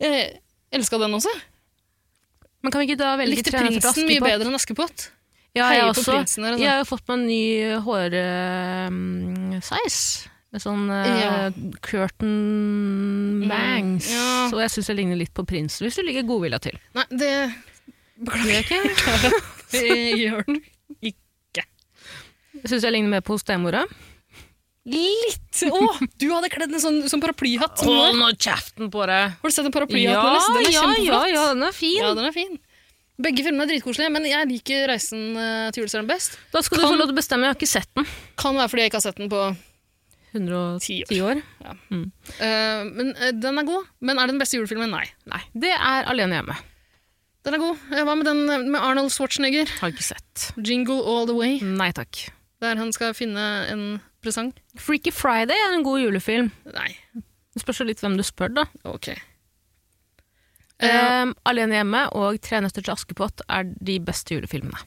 Speaker 2: Jeg elska den også.
Speaker 1: Men kan vi ikke da velge
Speaker 2: Likte
Speaker 1: Tre nøtter til
Speaker 2: prinsen mye
Speaker 1: Askepott?
Speaker 2: bedre enn Askepott?
Speaker 1: Ja, jeg
Speaker 2: Heier på
Speaker 1: også.
Speaker 2: prinsen der, altså.
Speaker 1: Jeg har jo fått meg en ny hårseis. Med sånn eh,
Speaker 2: Ja.
Speaker 1: curtain bangs.
Speaker 2: Ja.
Speaker 1: Og jeg syns jeg ligner litt på prinsen, hvis du ligger godvilja til.
Speaker 2: Nei, det
Speaker 1: Gjør jeg ikke?
Speaker 2: det gjør den
Speaker 1: Jeg syns jeg ligner mer på stemora.
Speaker 2: litt. Å, du hadde kledd en sånn, sånn paraplyhatt. som den der.
Speaker 1: nå kjeften på deg!
Speaker 2: Har du sett en
Speaker 1: Ja,
Speaker 2: paraplyhatt? Ja, den er
Speaker 1: ja, ja,
Speaker 2: kjempeflott.
Speaker 1: ja, den er fin.
Speaker 2: Ja, den er fin. Begge filmene er dritkoselige, men jeg liker 'Reisen eh, til julestjernen' best.
Speaker 1: Da skal du
Speaker 2: Kan-
Speaker 1: få lov til å bestemme, jeg har ikke sett den.
Speaker 2: Kan være fordi jeg ikke har sett den på
Speaker 1: 110
Speaker 2: Ti
Speaker 1: år.
Speaker 2: Eh, Men eh, den er god. Men er det den beste julefilmen? Nei.
Speaker 1: Nei, det er Alene hjemme.
Speaker 2: Den er god. Eh, Hva med den eh, med Arnold Schwarzenegger?
Speaker 1: Har ikke sett.
Speaker 2: 'Jingle All The Way',
Speaker 1: Nei takk.
Speaker 2: der han skal finne en presang.
Speaker 1: Freaky Friday er en god julefilm.
Speaker 2: Nei,
Speaker 1: Det spørs jo litt hvem du spør, da.
Speaker 2: ok. Eh,
Speaker 1: Eh, Alene hjemme og Tre nøtter til Askepott er de beste julefilmene.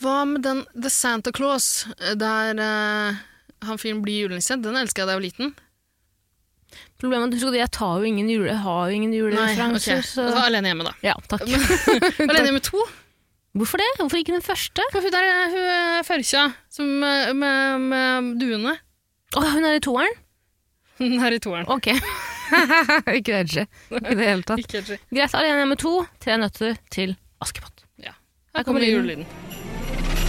Speaker 2: Hva med den The Santa Claus, der eh, han fyren blir julenisse? Den elska jeg da jeg var liten.
Speaker 1: Problemet er at husk at jeg tar jo ingen jule, jeg har jo ingen julereferanser,
Speaker 2: ok. Altså, alene hjemme, da.
Speaker 1: så Ja, takk.
Speaker 2: Alene hjemme to.
Speaker 1: Hvorfor det? Hvorfor ikke den første?
Speaker 2: For hun der er hun eh, førkja som, eh, med, med duene.
Speaker 1: Å, hun er i toeren?
Speaker 2: Hun er i toeren.
Speaker 1: Ok. ikke edgy i det hele tatt.
Speaker 2: Ikke helt
Speaker 1: Greit, Alene hjemme to, Tre nøtter til Askepott.
Speaker 2: ja.
Speaker 1: Her
Speaker 2: Her
Speaker 1: kommer
Speaker 2: kommer det
Speaker 1: lyden.
Speaker 2: julelyden.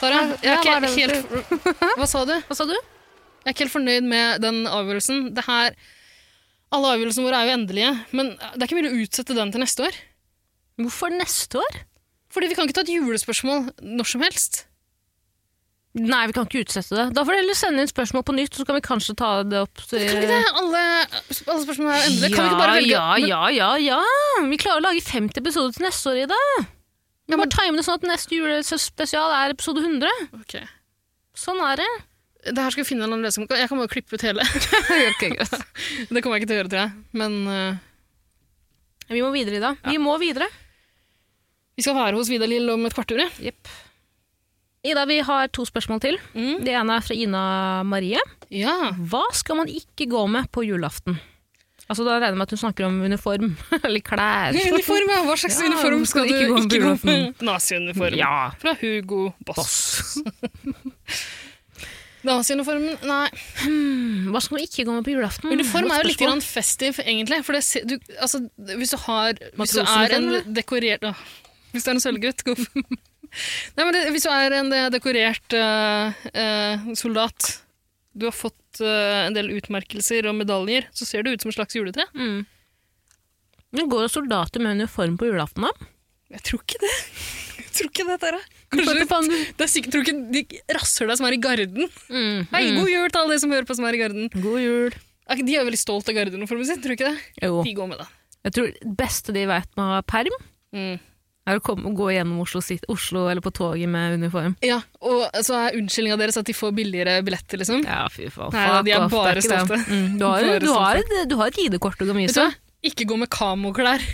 Speaker 2: Tara, jeg
Speaker 1: Ja, hva er
Speaker 2: er
Speaker 1: det
Speaker 2: ikke helt Hva sa du?
Speaker 1: Hva sa du?
Speaker 2: Jeg er ikke helt fornøyd med den avgjørelsen. Det her Alle avgjørelsene våre er jo endelige, men det er ikke mulig å utsette den til neste år.
Speaker 1: Hvorfor neste år?
Speaker 2: Fordi vi kan ikke ta et julespørsmål når som helst.
Speaker 1: Nei, vi kan ikke utsette det. Da får du heller sende inn spørsmål på nytt, så kan vi kanskje ta det opp til
Speaker 2: Kan vi ikke det? Alle, alle spørsmålene er endelige. Kan vi ikke bare velge?
Speaker 1: Ja,
Speaker 2: Men-
Speaker 1: ja, ja, ja. Vi klarer å lage 50 episoder til neste år, Ida. Vi
Speaker 2: Ja,
Speaker 1: må
Speaker 2: men-
Speaker 1: bare time det sånn at neste julespesial er episode 100.
Speaker 2: Ok.
Speaker 1: Sånn er det.
Speaker 2: Det her skal vi finne en annen løsning på. Jeg kan bare klippe ut hele. det kommer jeg ikke til å gjøre, tror jeg. Men eh,
Speaker 1: Vi må videre, Ida. Vi må videre.
Speaker 2: vi skal være hos Vidar Lill om et kvarter. ja.
Speaker 1: Ida, vi har to spørsmål til.
Speaker 2: Mm.
Speaker 1: Det ene er fra Ina Marie.
Speaker 2: Ja.
Speaker 1: Hva skal man ikke gå med på julaften? Altså, Da regner jeg med at hun snakker om uniform. Eller klær.
Speaker 2: Uniform, ja. Hva slags
Speaker 1: Ja,
Speaker 2: uniform skal du ikke
Speaker 1: på
Speaker 2: gå
Speaker 1: julaften?
Speaker 2: med? Naziuniform.
Speaker 1: Ja.
Speaker 2: Fra Hugo Boss.
Speaker 1: Boss.
Speaker 2: Naziuniformen, nei.
Speaker 1: Hva skal man ikke gå med på julaften?
Speaker 2: Uniform er
Speaker 1: Godt
Speaker 2: jo litt
Speaker 1: spørsmål.
Speaker 2: grann festiv, egentlig. For det, ser- du, altså, hvis du har Hvis du er
Speaker 1: Matrosuniform,
Speaker 2: en
Speaker 1: eller?
Speaker 2: dekorert Åh, Hvis du er en sølvgutt gå for- Nei, men det, Hvis du er en eh, dekorert eh, eh, soldat Du har fått eh, en del utmerkelser og medaljer, så ser du ut som et slags juletre.
Speaker 1: Mm. Men går soldater med uniform på julaften, da?
Speaker 2: Jeg tror ikke det. Jeg tror ikke det, Tara.
Speaker 1: Hva
Speaker 2: Kanskje
Speaker 1: faen du-
Speaker 2: det er sikkert, tror ikke de rasshøla som er i garden.
Speaker 1: Mm.
Speaker 2: Hei, god jul til alle de som hører på som er i garden.
Speaker 1: God jul.
Speaker 2: Er ikke- De er veldig stolt av gardeuniformen sin, tror du ikke det?
Speaker 1: Jo.
Speaker 2: De går med det.
Speaker 1: Jeg tror det beste de vet med å ha perm,
Speaker 2: Mm.
Speaker 1: er å komme, gå gjennom Oslo, sit- Oslo eller på toget med uniform.
Speaker 2: Ja, og så er unnskyldninga deres at de får billigere billetter, liksom.
Speaker 1: Ja, fy faen.
Speaker 2: Nei, da, de er
Speaker 1: Fuck off,
Speaker 2: bare
Speaker 1: det ikke det.
Speaker 2: stolte.
Speaker 1: Mm. Du, har,
Speaker 2: Bare
Speaker 1: du, har, et- du har et ID-kort du kan
Speaker 2: Vet du hva?
Speaker 1: vise.
Speaker 2: Ikke gå med kamoklær.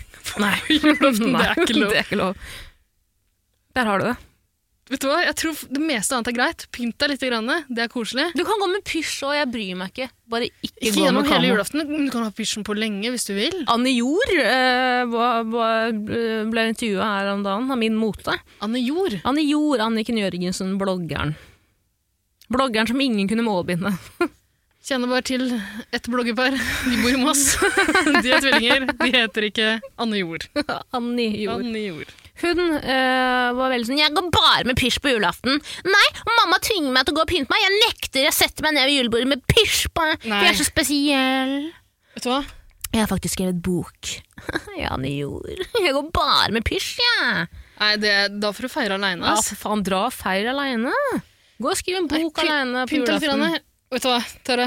Speaker 1: Nei.
Speaker 2: julaften,
Speaker 1: Nei,
Speaker 2: det er ikke lov.
Speaker 1: det er ikke lov. Der har du det.
Speaker 2: Vet du hva? Jeg tror det meste annet er greit. Pynt deg litt, grann, det er koselig.
Speaker 1: Du kan gå med pysj òg, jeg bryr meg ikke. Bare ikke,
Speaker 2: Ikke
Speaker 1: gå med
Speaker 2: gjennom hele
Speaker 1: kamo.
Speaker 2: julaften, men du kan ha pysjen på lenge hvis du vil.
Speaker 1: Anne Jord eh, var- var- ble intervjua her om dagen av Min Mote.
Speaker 2: Anne Jord.
Speaker 1: Anne Jord, Anniken Jørgensen, bloggeren. Bloggeren som ingen kunne målbinde.
Speaker 2: Kjenner bare til ett bloggerpar. De bor i Moss. De er tvillinger. De heter ikke Anne Jord.
Speaker 1: Annie Jord.
Speaker 2: Anne Jord.
Speaker 1: Hun eh, var veldig sånn 'Jeg går bare med pysj på julaften'. Nei, mamma tvinger meg til å gå og pynte meg. Jeg nekter. Jeg setter meg ned ved julebordet med pysj på.
Speaker 2: Nei.
Speaker 1: Jeg er så spesiell.
Speaker 2: Vet du hva?
Speaker 1: Jeg har faktisk skrevet bok. ja, Anne Jord. Jeg går bare med pysj, jeg.
Speaker 2: Nei, det, da får du feire aleine.
Speaker 1: Ja, for faen, dra og feir aleine. Gå og skriv en bok
Speaker 2: Py-
Speaker 1: aleine på
Speaker 2: pynt deg litt.
Speaker 1: julaften.
Speaker 2: grann. Vet du hva, Tara?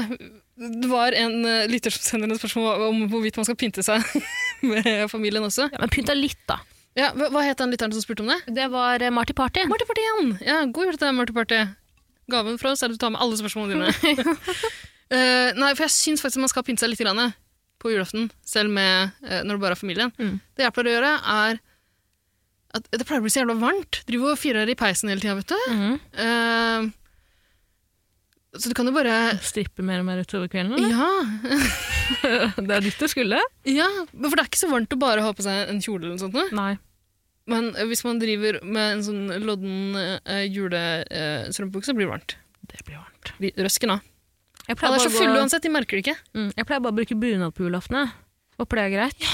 Speaker 2: Det var en eh, lytter som sender et spørsmål om hvorvidt man skal pynte seg med familien også.
Speaker 1: Ja, men pynt deg litt, da.
Speaker 2: Ja, hva, hva het den lytteren som spurte om det?
Speaker 1: Det var eh, Marty Party.
Speaker 2: Marty Party igjen! Ja, god jul til deg, Marty Party. Gaven fra oss er at du tar med alle spørsmålene dine. Eh, nei, for jeg syns faktisk man skal pynte seg litt grann, eh, på julaften, selv med, eh, når det bare er familien.
Speaker 1: Mm.
Speaker 2: Det jeg pleier å gjøre, er at det pleier å bli så jævla varmt. Driver og fyrer i peisen hele tida, vet du.
Speaker 1: Mhm.
Speaker 2: Eh, så du kan jo bare
Speaker 1: Stripper mer og mer utover kvelden? eller?
Speaker 2: Ja,
Speaker 1: det er ditt du skulle.
Speaker 2: Ja, men for det er ikke så varmt å bare ha på seg en kjole eller noe sånt. nå.
Speaker 1: Nei.
Speaker 2: Men eh, hvis man driver med en sånn lodden uh, julestrømpebukse, blir det varmt.
Speaker 1: Det blir varmt.
Speaker 2: Vi- Røsken av.
Speaker 1: Jeg
Speaker 2: Ja,
Speaker 1: pleier,
Speaker 2: det er
Speaker 1: bare
Speaker 2: så
Speaker 1: å
Speaker 2: fulle
Speaker 1: gå,
Speaker 2: uansett, de merker det ikke.
Speaker 1: mm, jeg pleier bare å bruke bunad på julaften. jeg. Håper det er greit.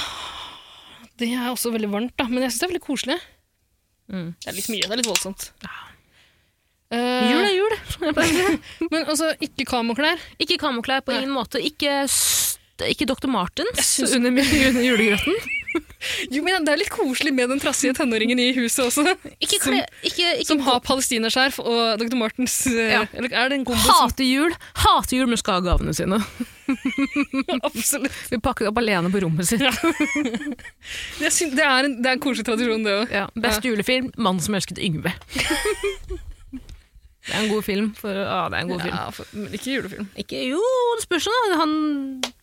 Speaker 2: Det er også veldig varmt, da. Men jeg syns det er veldig koselig.
Speaker 1: Mm.
Speaker 2: Det er litt mye, det er litt voldsomt.
Speaker 1: Jul
Speaker 2: Eh,
Speaker 1: er jul. Jeg pleier å si.
Speaker 2: men også ikke kamoklær.
Speaker 1: ikke kamoklær på
Speaker 2: Nei.
Speaker 1: ingen måte. Ikke, st- ikke Dr. Martens
Speaker 2: synes-
Speaker 1: under, under julegrøten.
Speaker 2: Jo, men Det er litt koselig med den trassige tenåringen i huset også.
Speaker 1: Ikke,
Speaker 2: Som-
Speaker 1: kle, ikke, ikke
Speaker 2: Som har palestinaskjerf og Dr. Martens eh,
Speaker 1: Ja.
Speaker 2: Eller er det en kombo? som-
Speaker 1: Hater jul, hater jul, men skal ha gavene sine.
Speaker 2: Absolutt.
Speaker 1: Vi pakker det opp alene på rommet sitt.
Speaker 2: Jeg syns- Det er, en, det er en koselig tradisjon, det òg.
Speaker 1: Ja. Best julefilm, 'Mannen som elsket Yngve'. det er en god film. For, ja, det er en god film.
Speaker 2: Ja, for- men ikke julefilm.
Speaker 1: Ikke, jo, det spørs jo, da. Han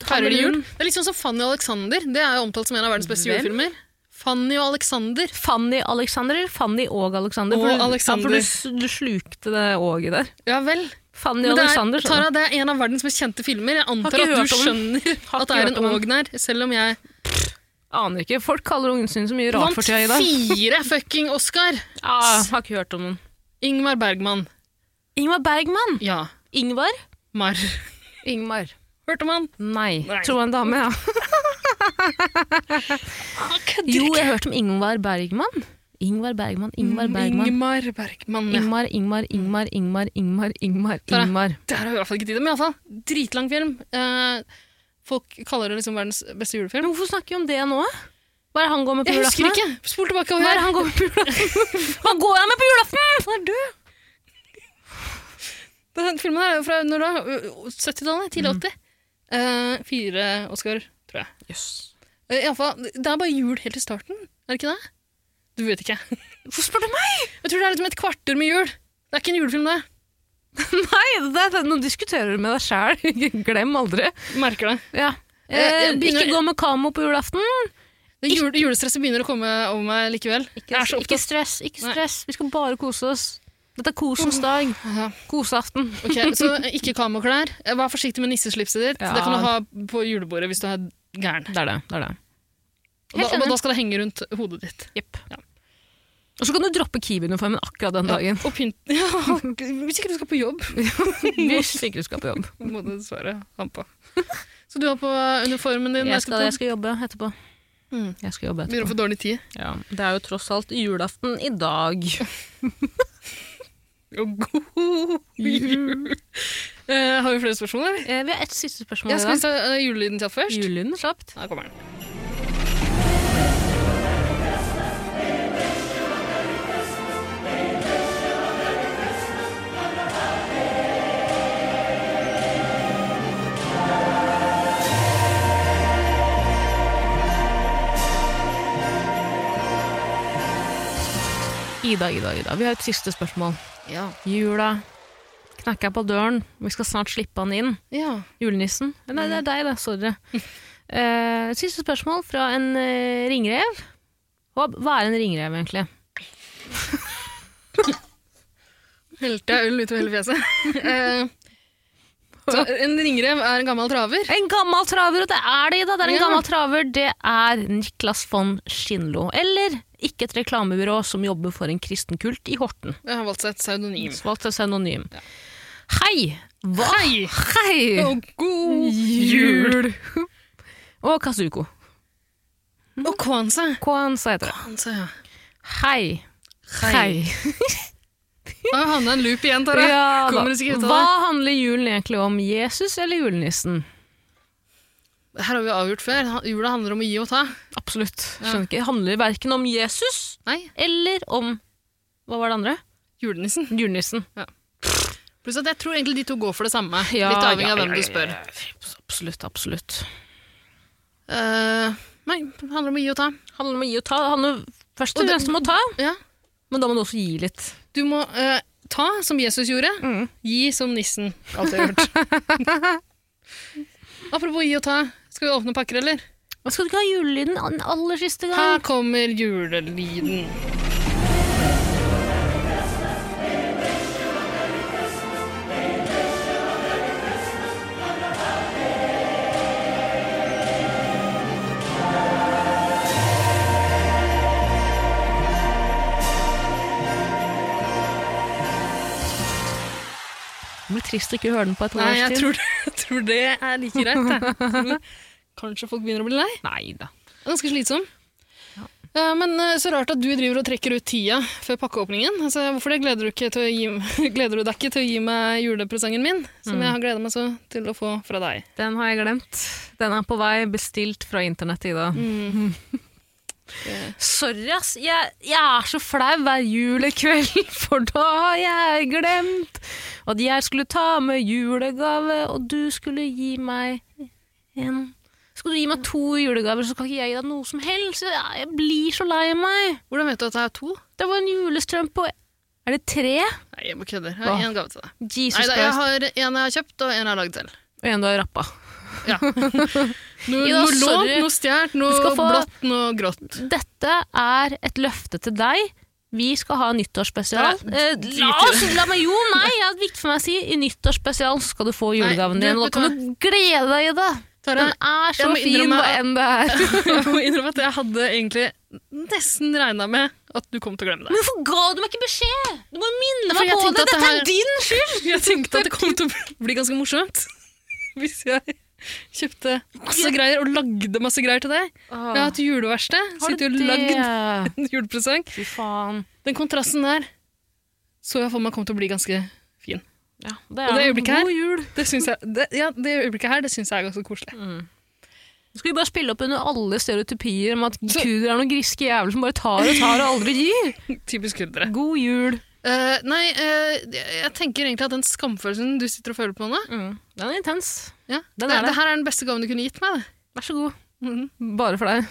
Speaker 2: Feirer de
Speaker 1: han-
Speaker 2: jul? Det er litt sånn som Fanny og Alexander. Det er jo omtalt som en av verdens beste
Speaker 1: Hvem?
Speaker 2: julefilmer. Fanny og Alexander.
Speaker 1: Fanny Alexander eller Fanny og Alexander?
Speaker 2: Og
Speaker 1: For du-
Speaker 2: Alexander.
Speaker 1: Ja, for du, du slukte det åget der.
Speaker 2: Ja vel.
Speaker 1: Fanny
Speaker 2: Men
Speaker 1: og
Speaker 2: det
Speaker 1: Alexander.
Speaker 2: er,
Speaker 1: så-
Speaker 2: Tara, det er en av verdens mest kjente filmer. Jeg
Speaker 1: Har
Speaker 2: antar
Speaker 1: ikke
Speaker 2: at du
Speaker 1: hørt om den.
Speaker 2: skjønner
Speaker 1: Har
Speaker 2: at det
Speaker 1: ikke
Speaker 2: er
Speaker 1: hørt
Speaker 2: en
Speaker 1: om den.
Speaker 2: Ågn her, selv om jeg
Speaker 1: Aner ikke. Folk kaller ungen sin så mye rart
Speaker 2: vant
Speaker 1: for tida i dag.
Speaker 2: fire fucking Oscar!
Speaker 1: Ah, har ikke hørt om den.
Speaker 2: Ingmar Bergman.
Speaker 1: Ingmar Bergman.
Speaker 2: Ja.
Speaker 1: Ingvar?
Speaker 2: Marr.
Speaker 1: Ingmar.
Speaker 2: Hørte man?
Speaker 1: Nei.
Speaker 2: Nei.
Speaker 1: Tror jeg en dame, ja. Jo, jeg hørte om Ingvar Bergman. Ingvar Bergman, Ingvar Bergman.
Speaker 2: Ingmar Bergman. ja.
Speaker 1: Mm, Ingmar, Ingmar, Ingmar, Ingmar, Ingmar, Ingmar.
Speaker 2: Tara.
Speaker 1: Ingmar.
Speaker 2: Det her har vi i hvert fall ikke tid til, men iallfall. Dritlang film. Eh, Folk kaller det liksom verdens beste
Speaker 1: Men
Speaker 2: julefilm.
Speaker 1: hvorfor snakker vi om det nå? Hva er det han går med på
Speaker 2: Jeg husker
Speaker 1: julaften?
Speaker 2: ikke! Spol tilbake og
Speaker 1: Hva er det
Speaker 2: hør.
Speaker 1: han går med på julaften? Hva går han med på julaften? Han er død.
Speaker 2: Den filmen er jo fra når da? 70-tallet? Tidlig 80? Eh, fire Oscar, tror jeg. Eh, i alle fall, det er bare jul helt i starten, er det ikke det? Du vet ikke.
Speaker 1: Hvorfor spør du meg?
Speaker 2: Jeg tror det er liksom et kvarter med jul. Det er ikke en julefilm, det.
Speaker 1: Nei, det er, nå diskuterer du med deg sjæl. Glem aldri.
Speaker 2: Merker det.
Speaker 1: Ja.
Speaker 2: Eh, jeg begynner-
Speaker 1: ikke gå med kamo på julaften.
Speaker 2: det jul, julestresset begynner å komme over meg likevel. Jeg er så
Speaker 1: ikke
Speaker 2: opptatt.
Speaker 1: stress. ikke
Speaker 2: Nei.
Speaker 1: stress. Vi skal bare kose oss. Dette er kosens dag.
Speaker 2: Ja.
Speaker 1: Koseaften.
Speaker 2: Ok, så ikke kamoklær. Eh, Vær forsiktig med nisseslipset ditt.
Speaker 1: Ja.
Speaker 2: Det kan du ha på julebordet hvis du er gæren.
Speaker 1: Det er det. det, er det.
Speaker 2: Og da,
Speaker 1: Helt enig.
Speaker 2: og da skal det henge rundt hodet ditt.
Speaker 1: Jepp.
Speaker 2: Ja.
Speaker 1: Og så kan du droppe Kiwi-uniformen akkurat den dagen.
Speaker 2: og pynt. Ja, hvis ikke du skal på jobb,
Speaker 1: Hvis ikke du skal på jobb.
Speaker 2: må du dessverre ha den på. Så du har på uniformen din.
Speaker 1: Jeg
Speaker 2: Espen?
Speaker 1: skal, jeg skal jobbe etterpå.
Speaker 2: Mm.
Speaker 1: Jeg skal jobbe
Speaker 2: Begynner å
Speaker 1: etterpå.
Speaker 2: få dårlig tid.
Speaker 1: Ja, det er jo tross alt julaften i dag.
Speaker 2: Og god jul! Eh, har vi flere spørsmål, eller?
Speaker 1: Eh, vi har ett siste spørsmål
Speaker 2: Jeg skal vi ta uh, julelyden
Speaker 1: i
Speaker 2: til
Speaker 1: dag.
Speaker 2: først?
Speaker 1: Julelyden slapt.
Speaker 2: Her kommer den.
Speaker 1: Ida, Ida, Ida. Vi har et siste spørsmål.
Speaker 2: Ja.
Speaker 1: Jula knakker på døren. Vi skal snart slippe han inn.
Speaker 2: ja.
Speaker 1: Julenissen. Nei,
Speaker 2: Mm.
Speaker 1: det er deg, det. Sorry. Eh, siste spørsmål fra en eh, ringrev. Hva, hva er en ringrev, egentlig?
Speaker 2: Helte jeg øl utover hele fjeset. Eh, så en ringrev er en gammel traver.
Speaker 1: En gammel traver, og det er det, Ida. Det er en
Speaker 2: Ja.
Speaker 1: gammel traver. Det er Niklas von Schindlo. Eller ikke et reklamebyrå som jobber for en kristen kult i Horten.
Speaker 2: Jeg har valgt seg et pseudonym.
Speaker 1: Valgt et pseudonym. Hei! Hva?
Speaker 2: Hei!
Speaker 1: Hei!
Speaker 2: Og god jul!
Speaker 1: og Kazuko.
Speaker 2: Og kwanza.
Speaker 1: Kwanza heter det.
Speaker 2: Kwanza, ja.
Speaker 1: Hei. Hei.
Speaker 2: Da har vi havnet i en loop igjen, Tara.
Speaker 1: Ja, da.
Speaker 2: Kommer oss ikke ut av
Speaker 1: Hva handler julen egentlig om? Jesus eller julenissen?
Speaker 2: det. Her har vi avgjort før. Ha- Jula handler om å gi og ta.
Speaker 1: Absolutt. Skjønner ikke. Det handler verken om Jesus
Speaker 2: Nei,
Speaker 1: eller om Hva var det andre?
Speaker 2: julenissen.
Speaker 1: Julenissen.
Speaker 2: Pluss at jeg tror egentlig de to går for det samme. Litt avhengig av hvem du spør.
Speaker 1: Absolutt, absolutt.
Speaker 2: Eh, nei, det handler om å gi og ta.
Speaker 1: Det handler om å gi og ta. Det handler først
Speaker 2: Og
Speaker 1: og
Speaker 2: det-
Speaker 1: fremst om å ta,
Speaker 2: Ja.
Speaker 1: men da må du også gi litt.
Speaker 2: Du må eh, ta som Jesus gjorde,
Speaker 1: Mm.
Speaker 2: gi som nissen. Alt jeg har hørt. Apropos gi og ta, skal vi åpne pakker, eller?
Speaker 1: Men Skal du ikke ha julelyden den aller siste
Speaker 2: Her
Speaker 1: gang?
Speaker 2: kommer julelyden.
Speaker 1: Det blir trist å ikke høre den på et
Speaker 2: Nei,
Speaker 1: års
Speaker 2: jeg
Speaker 1: tid.
Speaker 2: tror, jeg tror det er like greit. Jeg. Tror- Kanskje folk begynner å bli lei.
Speaker 1: Nei da.
Speaker 2: Det er Ganske slitsom. Eh, men eh, så rart at du driver og trekker ut tida før pakkeåpningen. Altså, hvorfor det gleder du, ikke til å gi, gleder du deg ikke til å gi meg julepresangen min, som
Speaker 1: Mm.
Speaker 2: jeg har gleda meg så til å få fra deg?
Speaker 1: Den har jeg glemt. Den er på vei, bestilt fra internett, Ida.
Speaker 2: Det-
Speaker 1: Sorry, ass. Jeg, jeg er så flau hver julekveld, for da har jeg glemt at jeg skulle ta med julegave, og du skulle gi meg en Skulle du gi meg to julegaver, så kan ikke jeg gi deg noe som helst. Jeg, jeg blir så lei meg.
Speaker 2: Hvordan vet du at det er to?
Speaker 1: Det var en julestrømpe og Er det tre?
Speaker 2: Nei, jeg bare kødder. Jeg har
Speaker 1: Hva?
Speaker 2: én gave til deg.
Speaker 1: Jesus
Speaker 2: Nei, da, jeg
Speaker 1: Christ.
Speaker 2: har en jeg har kjøpt, og en jeg har lagd selv.
Speaker 1: Og en du har rappa.
Speaker 2: Ja. Noe,
Speaker 1: Ja,
Speaker 2: noe
Speaker 1: sorry.
Speaker 2: lånt, noe stjålet,
Speaker 1: Du
Speaker 2: noe
Speaker 1: skal få-
Speaker 2: blått, noe grått.
Speaker 1: Dette er et løfte til deg. Vi skal ha nyttårsspesial.
Speaker 2: Nei,
Speaker 1: Eh,
Speaker 2: drit i
Speaker 1: la oss, la meg, jo, nei, det er viktig for meg å si i nyttårsspesialen så skal du få julegaven
Speaker 2: Nei,
Speaker 1: din.
Speaker 2: du,
Speaker 1: Og da kan du glede deg i det.
Speaker 2: Tara,
Speaker 1: Den er så
Speaker 2: jeg må
Speaker 1: fin,
Speaker 2: innrømme
Speaker 1: hva
Speaker 2: at-
Speaker 1: enn det er.
Speaker 2: jeg må innrømme at jeg hadde egentlig nesten regna med at du kom til å glemme det.
Speaker 1: Men hvorfor ga du meg ikke beskjed? Du må minne
Speaker 2: For
Speaker 1: meg
Speaker 2: jeg
Speaker 1: på
Speaker 2: tenkte
Speaker 1: det.
Speaker 2: at det
Speaker 1: Dette
Speaker 2: her-
Speaker 1: er din skyld!
Speaker 2: Jeg tenkte at det kom til å bli ganske morsomt hvis jeg kjøpte masse greier og lagde masse greier til deg. Jeg Ah. har hatt juleverksted,
Speaker 1: Har du
Speaker 2: sittet og
Speaker 1: det?
Speaker 2: lagd en julepresang.
Speaker 1: Fy faen.
Speaker 2: Den kontrasten der så jeg for meg kom til å bli ganske fin.
Speaker 1: Ja, det
Speaker 2: Og det
Speaker 1: er en
Speaker 2: øyeblikket her-
Speaker 1: god jul.
Speaker 2: Det, syns jeg, det, ja, det øyeblikket her det syns jeg er ganske koselig.
Speaker 1: Skal vi bare spille opp under alle stereotypier om at
Speaker 2: Så-
Speaker 1: guder er noen griske jævler som bare tar og tar og aldri gir?
Speaker 2: Typisk kurdere.
Speaker 1: God jul.
Speaker 2: Eh, nei, eh, jeg tenker egentlig at den skamfølelsen du sitter og føler på nå
Speaker 1: Mm. Den er intens.
Speaker 2: ja,
Speaker 1: Den
Speaker 2: det,
Speaker 1: er det.
Speaker 2: det her er den beste gaven du kunne gitt meg. Det.
Speaker 1: Vær så god.
Speaker 2: Mhm,
Speaker 1: Bare for deg.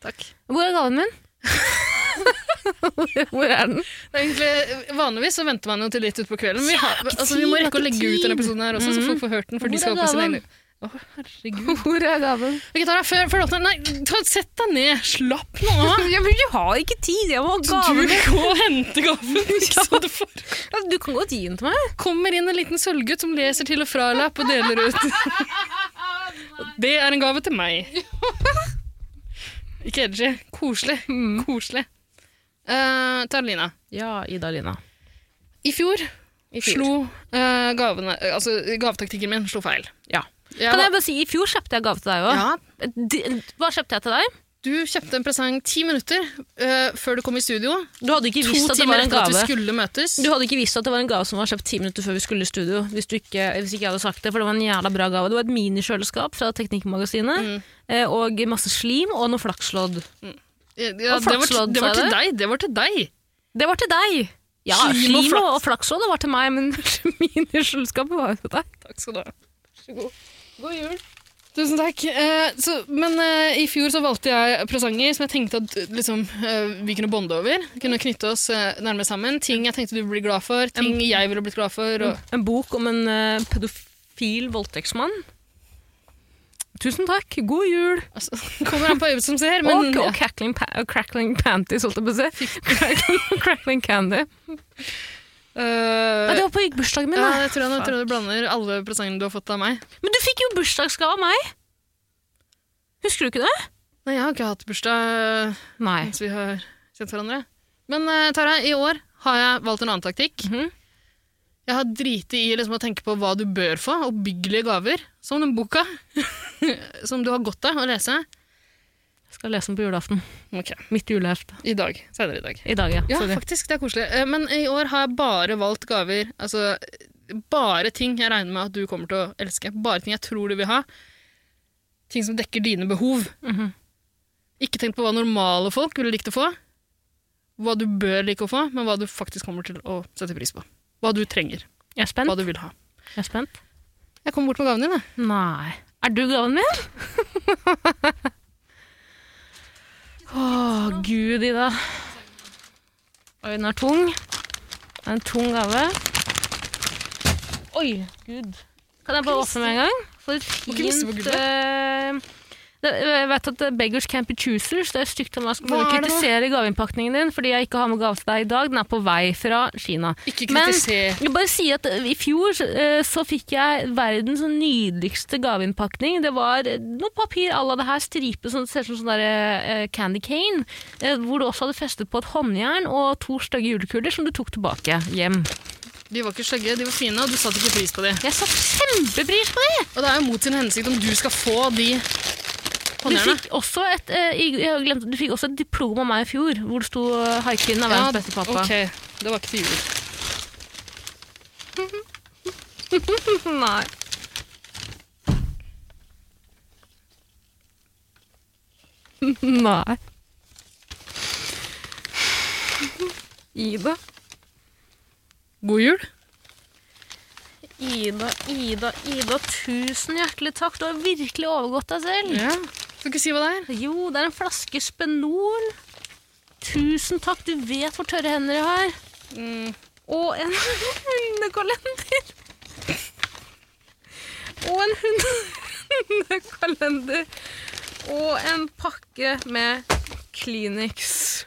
Speaker 2: takk.
Speaker 1: Hvor er gaven min? Hvor er den?
Speaker 2: Det er egentlig, vanligvis så venter man jo til litt utpå kvelden. men Vi, har,
Speaker 1: ikke
Speaker 2: altså, vi må
Speaker 1: tid,
Speaker 2: rekke å
Speaker 1: det er ikke
Speaker 2: legge ut denne
Speaker 1: tid.
Speaker 2: episoden her også, så
Speaker 1: Mhm.
Speaker 2: folk får hørt den. For de
Speaker 1: Hvor
Speaker 2: skal
Speaker 1: er
Speaker 2: opp i sin
Speaker 1: gaven?
Speaker 2: egen... Å, herregud.
Speaker 1: Hvor er gaven?
Speaker 2: Ok, Tara, før, før du åpner Nei, ta, sett deg ned. Slapp nå av.
Speaker 1: Ja, Ah, men jeg har ikke tid! Jeg må ha
Speaker 2: Du
Speaker 1: gaven!
Speaker 2: gå og hente gaven. Så du får.
Speaker 1: Ja, Du kan godt gi den til meg.
Speaker 2: Kommer inn en liten sølvgutt som leser til og fra-lapp og deler ut. Og Det er en gave til meg. Ikke edgy. Koselig.
Speaker 1: Mm.
Speaker 2: Koselig. Eh, Taralina.
Speaker 1: Ja, Ida Lina.
Speaker 2: I fjor,
Speaker 1: I fjor.
Speaker 2: slo eh, gavene Altså, gavetaktikken min slo feil.
Speaker 1: Ja.
Speaker 2: Jeg
Speaker 1: Kan
Speaker 2: var-
Speaker 1: jeg bare si, I fjor kjøpte jeg gave til deg òg.
Speaker 2: ja,
Speaker 1: Hva kjøpte jeg til deg?
Speaker 2: du kjøpte en presang ti minutter eh, før du kom i studio.
Speaker 1: Du hadde ikke
Speaker 2: To
Speaker 1: visst at det
Speaker 2: timer
Speaker 1: var en
Speaker 2: etter at vi
Speaker 1: gave.
Speaker 2: skulle møtes.
Speaker 1: Du hadde ikke visst at det var en gave som var kjøpt ti minutter før vi skulle i studio. Hvis, du ikke, hvis ikke jeg hadde sagt det, for det var en jævla bra gave. Det var et minikjøleskap fra Teknikkmagasinet, eh, og masse slim og noe flakslodd.
Speaker 2: Ja, ja,
Speaker 1: Og
Speaker 2: det, var,
Speaker 1: flakslodd,
Speaker 2: det var
Speaker 1: sa
Speaker 2: til
Speaker 1: jeg
Speaker 2: deg. Det var til deg.
Speaker 1: Det var til deg! Ja,
Speaker 2: Slim
Speaker 1: slim
Speaker 2: og
Speaker 1: og, og flakslodd var til meg, men minikjøleskapet var jo til deg.
Speaker 2: Takk skal du ha. Vær så god. God jul. Tusen takk. Eh, så, men eh, i fjor så valgte jeg presanger som jeg tenkte at eh, liksom, eh, vi kunne bonde over. Kunne knytte oss eh, nærmere sammen. Ting jeg tenkte du ville bli glad for, ting jeg ville blitt glad for. Og,
Speaker 1: En bok om en eh, pedofil voldtektsmann. Tusen takk, god jul!
Speaker 2: altså, kommer an på øyet som ser, men
Speaker 1: og og crackling, pa og crackling panties, holdt jeg på å si. Crackling, crackling candy. Ja,
Speaker 2: Eh,
Speaker 1: det var på bursdagen min,
Speaker 2: ja,
Speaker 1: da.
Speaker 2: jeg tror, jeg tror du blander alle presangene du har fått av meg.
Speaker 1: Men du fikk jo bursdagsgave av meg! Husker du ikke det?
Speaker 2: Nei, jeg har ikke hatt bursdag eh,
Speaker 1: Nei.
Speaker 2: mens vi har kjent hverandre. Men eh, Tara, i år har jeg valgt en annen taktikk.
Speaker 1: Mhm.
Speaker 2: Jeg har driti i liksom, å tenke på hva du bør få, og byggelige gaver. Som den boka som du har godt av å lese.
Speaker 1: Jeg skal lese den på julaften.
Speaker 2: Ok,
Speaker 1: Mitt julehefte.
Speaker 2: I dag. Senere i dag.
Speaker 1: I dag, ja.
Speaker 2: Ja,
Speaker 1: Sorry.
Speaker 2: faktisk. Det er koselig. Eh, Men i år har jeg bare valgt gaver. Altså bare ting jeg regner med at du kommer til å elske. Bare ting jeg tror du vil ha. Ting som dekker dine behov.
Speaker 1: Mhm.
Speaker 2: Ikke tenk på hva normale folk ville likt å få. Hva du bør like å få, men hva du faktisk kommer til å sette pris på. Hva du trenger.
Speaker 1: Jeg er
Speaker 2: Hva
Speaker 1: spent.
Speaker 2: du vil ha.
Speaker 1: Jeg er spent.
Speaker 2: Jeg kommer bort med gaven din, jeg.
Speaker 1: Nei. Er du gaven min? Å, gud, Ida. Oi, den er tung. Det er en tung gave. Oi, gud. Kan jeg bare åpne med en gang? For et
Speaker 2: Må ikke miste på
Speaker 1: fint
Speaker 2: gulvet.
Speaker 1: eh, det, Jeg vet at eh, beggars can't be choosers. Det er stygt av meg å skulle
Speaker 2: Hva er det nå?
Speaker 1: kritisere gaveinnpakningen din fordi jeg ikke har med gave til deg i dag. Den er på vei fra Kina.
Speaker 2: Ikke
Speaker 1: Men-
Speaker 2: kritiser.
Speaker 1: Jeg vil bare si at eh, I fjor eh, så fikk jeg verdens nydeligste gaveinnpakning. Det var eh, noe papir à la det her, stripe som ser ut som sånn der, eh, candy cane. eh, Hvor du også hadde festet på et håndjern og to stygge julekuler som du tok tilbake hjem.
Speaker 2: De var ikke stygge, de var fine, og du satte ikke pris på de.
Speaker 1: Jeg satte kjempepris på det!
Speaker 2: Og det er jo mot sin hensikt om du skal få de
Speaker 1: Du
Speaker 2: håndjernene.
Speaker 1: fikk, også et, eh, i- jeg har glemt- du fikk også et diplom av meg i fjor, hvor det sto eh, 'Haikin er verdens beste pappa'.
Speaker 2: Ok, det var ikke til jul.
Speaker 1: Nei. Nei. Ida.
Speaker 2: God jul.
Speaker 1: Ida, Ida, Ida, tusen hjertelig takk. Du har virkelig overgått deg selv.
Speaker 2: Ja. Skal ikke si hva det er?
Speaker 1: Jo, det er en flaske Spenol. Tusen takk. Du vet hvor tørre hender jeg har.
Speaker 2: Mm.
Speaker 1: Og en hundekalender. Og en hundekalender. Og en pakke med Kleenex.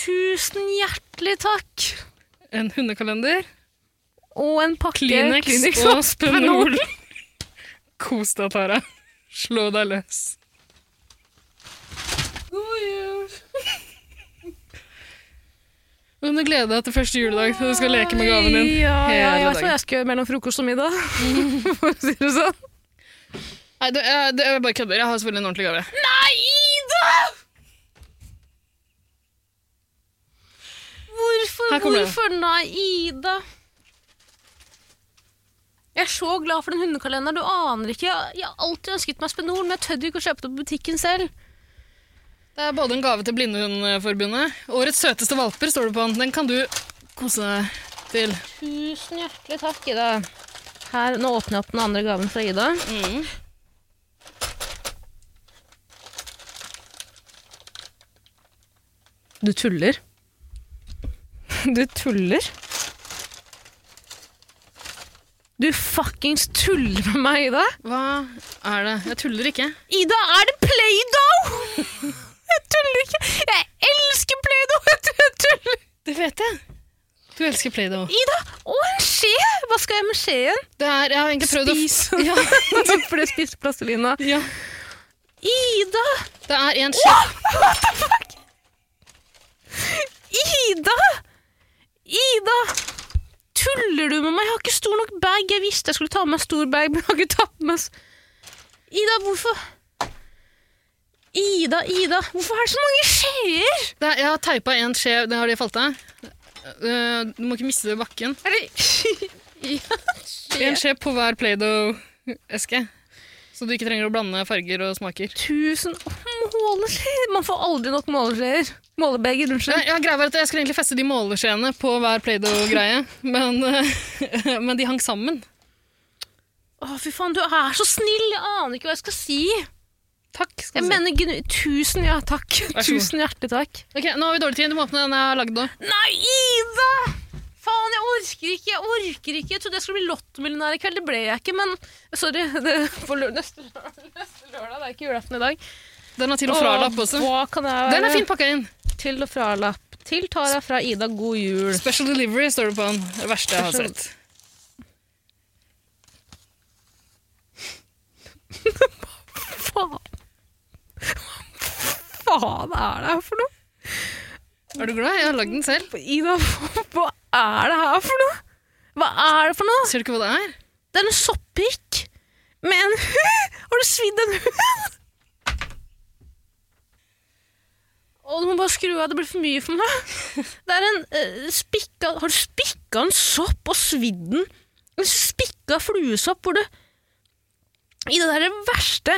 Speaker 1: Tusen hjertelig takk.
Speaker 2: En hundekalender,
Speaker 1: Og en pakke
Speaker 2: Kleenex, og
Speaker 1: og
Speaker 2: Spenol. Kos deg, Tara. Slå deg løs.
Speaker 1: God jul.
Speaker 2: Nå må du glede deg til første juledag, så du skal leke med gaven din.
Speaker 1: Ja, ja,
Speaker 2: hele
Speaker 1: jeg vet
Speaker 2: dagen.
Speaker 1: hva jeg skal gjøre mellom frokost og middag. For å si det sånn.
Speaker 2: Nei, det, jeg, det, jeg bare kødder. Jeg har selvfølgelig en ordentlig gave.
Speaker 1: Nei, Ida! Hvorfor,
Speaker 2: Her kommer det.
Speaker 1: hvorfor nei, Ida? Jeg er så glad for den hundekalenderen. Du aner ikke. Jeg, jeg har alltid ønsket meg Spenol, men jeg tødde ikke å kjøpe det på butikken selv.
Speaker 2: Det er både en gave til Blindehundforbundet. Årets søteste valper står det på den. Den kan du kose deg til.
Speaker 1: Tusen hjertelig takk, Ida. Her, nå åpner jeg opp den andre gaven fra Ida.
Speaker 2: Mm.
Speaker 1: Du tuller? Du tuller? Du fuckings tuller med meg, Ida?
Speaker 2: Hva er det? Jeg tuller ikke.
Speaker 1: Ida, er det Play-Doh?! Jeg tuller ikke! Jeg elsker Play-Doh! Jeg tror jeg tuller!
Speaker 2: Det vet jeg. Du elsker Play-Doh.
Speaker 1: Ida, å, en skje! Hva skal jeg med skjeen?
Speaker 2: Det er, jeg har egentlig prøvd
Speaker 1: Spis.
Speaker 2: å... Ja,
Speaker 1: Fordi jeg spiste plastelina.
Speaker 2: ja.
Speaker 1: Ida!
Speaker 2: Det er en skje...
Speaker 1: Ida! Ida! Tuller du med meg? Jeg har ikke stor nok bag. Jeg visste jeg skulle ta med meg stor bag, men jeg har ikke tatt med meg s- Ida, hvorfor Ida, Ida, hvorfor er det så mange skjeer?
Speaker 2: Det er, jeg har teipa en skje. Det har de falt av. Eh, Du må ikke miste det i bakken.
Speaker 1: Er det
Speaker 2: En skje på hver Play-Doh-eske. Så du ikke trenger å blande farger og smaker.
Speaker 1: Tusen Å, måleskjeer! Man får aldri nok måleskjeer. Målebeger,
Speaker 2: Ja,
Speaker 1: unnskyld.
Speaker 2: ja, greia var at Jeg skulle egentlig feste de måleskjeene på hver Play-Doh-greie, men, eh, men de hang sammen.
Speaker 1: Å, fy faen, du er så snill! Jeg aner ikke hva jeg skal si.
Speaker 2: Takk. skal
Speaker 1: Jeg
Speaker 2: du si.
Speaker 1: mener genu... Tusen ja, takk.
Speaker 2: Vær så god.
Speaker 1: Tusen hjertelig takk.
Speaker 2: Ok, Nå har vi dårlig tid. Du må åpne den jeg har lagd nå.
Speaker 1: Nei, Ida! Faen, jeg orker ikke! Jeg orker ikke! Jeg trodde jeg skulle bli lottomillionær i kveld, det ble jeg ikke, men Sorry, det får lø neste, lørdag, neste lørdag. Det er ikke julaften i dag.
Speaker 2: Den har til og fra-lapp også.
Speaker 1: Åh, Hva kan jeg være?
Speaker 2: Den er fint pakka inn.
Speaker 1: Til og fra-lapp. Til Tara fra Ida, god jul.
Speaker 2: Special delivery står det på den. Det verste jeg har
Speaker 1: Special-
Speaker 2: sett.
Speaker 1: Faen! Hva faen er det her for noe?
Speaker 2: Er du glad? Jeg har lagd den selv.
Speaker 1: Ida, hva er det her for noe? Hva er det for noe?
Speaker 2: Ser du ikke hva det er?
Speaker 1: Det er en soppikk med en hund! Har du svidd en hund? Å, du må bare skru av, det blir for mye for meg. Det er en eh, spikka Har du spikka en sopp og svidd den? En spikka fluesopp hvor du I det der verste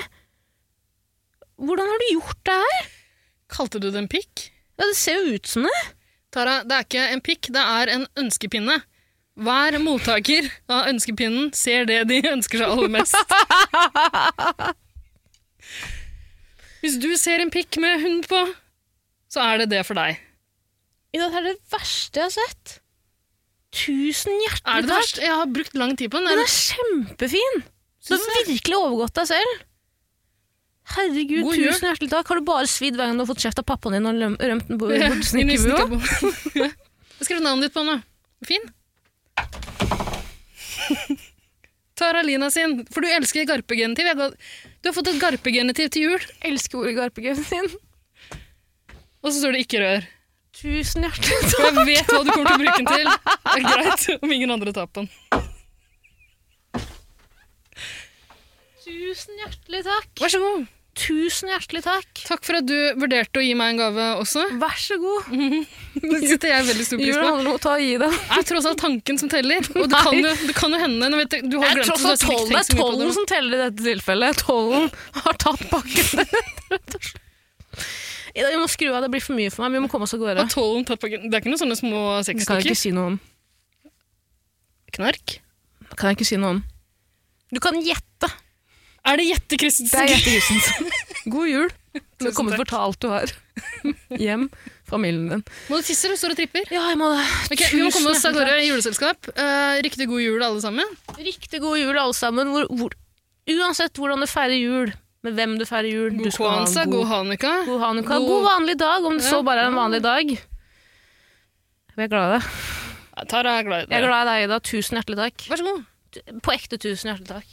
Speaker 1: Hvordan har du gjort det her?
Speaker 2: Kalte du det en pikk?
Speaker 1: Ja, Det ser jo ut som det.
Speaker 2: Tara, det er ikke en pikk, det er en ønskepinne. Hver mottaker av ønskepinnen ser det de ønsker seg aller mest. Hvis du ser en pikk med hund på, så er det det for deg.
Speaker 1: I det er det verste jeg har sett. Tusen
Speaker 2: Er det
Speaker 1: hjertelig
Speaker 2: det
Speaker 1: takk.
Speaker 2: verste? Jeg har brukt lang tid på den.
Speaker 1: Den
Speaker 2: Er
Speaker 1: er kjempefin! Du
Speaker 2: Syns
Speaker 1: har virkelig overgått deg selv. Herregud,
Speaker 2: God jul.
Speaker 1: tusen hjertelig takk. Har du bare svidd hver gang du har fett kjeft av pappaen din og løm- rømt den bort
Speaker 2: det-
Speaker 1: bort til snekkerbua?
Speaker 2: Ja. Jeg skrev navnet ditt på den. da. Fin. Tara Lina sin, for du elsker garpegenitiv. Jeg ga- Du har fått et garpegenitiv til jul,
Speaker 1: Elsker ordet garpegøyen sin.
Speaker 2: og så står det 'ikke rør'.
Speaker 1: Tusen hjertelig takk.
Speaker 2: For jeg vet hva du kommer til å bruke den til. Det er greit om ingen andre tar på den.
Speaker 1: Tusen hjertelig takk.
Speaker 2: Vær så god.
Speaker 1: Tusen hjertelig takk.
Speaker 2: Takk for at du vurderte å gi meg en gave også.
Speaker 1: Vær så god.
Speaker 2: Det setter jeg veldig stor pris
Speaker 1: Julen
Speaker 2: på.
Speaker 1: handler om å ta og gi deg.
Speaker 2: Det er tross alt tanken som teller. Og det kan jo, det kan jo hende nå vet jeg, Du
Speaker 1: Det
Speaker 2: har
Speaker 1: er
Speaker 2: glemt det,
Speaker 1: tross
Speaker 2: så du har
Speaker 1: alt
Speaker 2: sikkert
Speaker 1: tollen,
Speaker 2: ikke
Speaker 1: det
Speaker 2: tenkt
Speaker 1: er
Speaker 2: så mye på det.
Speaker 1: tollen som teller i dette tilfellet. Tollen har tatt pakken. Rett og slett. Ida, Vi må skru av, det blir for mye for meg. Vi må komme oss av gårde.
Speaker 2: Og tollen tatt på- Det er ikke noen sånne små
Speaker 1: Det kan jeg
Speaker 2: sexdukker?
Speaker 1: ikke si noe om.
Speaker 2: Knark?
Speaker 1: kan jeg ikke si noe om. Du kan gjette.
Speaker 2: Er det Jette Christensen?
Speaker 1: Jette Christensen. God jul. Du
Speaker 2: Tusen
Speaker 1: har kommet
Speaker 2: takk.
Speaker 1: for ta alt du har. Hjem. Familien din.
Speaker 2: Må du tisse, eller står og tripper?
Speaker 1: Ja, jeg må det.
Speaker 2: Ok, Vi må komme oss av gårde i juleselskap. Eh, riktig god jul, alle sammen.
Speaker 1: Riktig god jul, alle sammen. Hvor, hvor, uansett hvordan du feirer jul, med hvem du feirer jul
Speaker 2: God
Speaker 1: du skal ha en
Speaker 2: kwanza, god hanukka.
Speaker 1: god hanukka.
Speaker 2: god-
Speaker 1: God vanlig dag, om det så
Speaker 2: Ja.
Speaker 1: bare er en vanlig dag. Jeg er glad i deg.
Speaker 2: Ja, Tara er glad i
Speaker 1: Jeg er
Speaker 2: det.
Speaker 1: glad i deg, Ida. Tusen hjertelig takk.
Speaker 2: Vær så god.
Speaker 1: På ekte tusen hjertelig takk.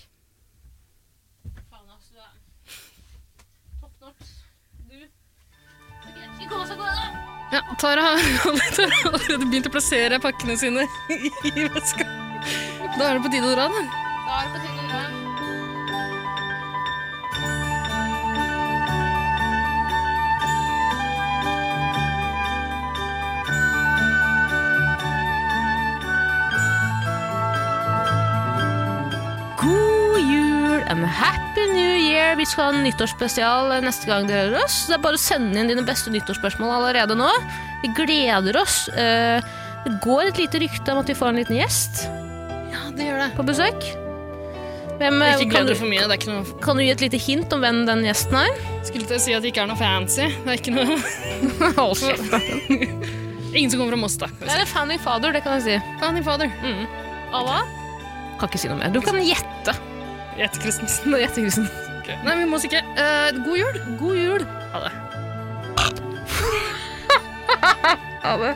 Speaker 2: Ja, Tara har allerede- Tara har allerede begynt å plassere pakkene sine i veska. Da er det på tide å dra, da.
Speaker 1: en happy new year. Vi skal ha en nyttårsspesial eh, neste gang dere hører oss. Det er bare å sende inn dine beste nyttårsspørsmål allerede nå. Vi gleder oss. Eh, Det går et lite rykte om at vi får en liten gjest
Speaker 2: Ja, det gjør det.
Speaker 1: på besøk. Hvem, eh,
Speaker 2: Ikke
Speaker 1: kan,
Speaker 2: gled deg for mye. Det er ikke noe,
Speaker 1: du- kan du gi et lite hint om hvem den gjesten er?
Speaker 2: skulle til å si at det ikke er noe fancy. Det er ikke noe Ingen som kommer fra Moss, da.
Speaker 1: Det er en founding father, det kan jeg si.
Speaker 2: Fanny Fader.
Speaker 1: Av hva? Kan ikke si noe mer. Du kan gjette.
Speaker 2: Jette Christensen.
Speaker 1: Nå gjetter Kristen.
Speaker 2: Nei, vi må ikke. Eh, god jul.
Speaker 1: God jul.
Speaker 2: Ha det.
Speaker 1: Ha det.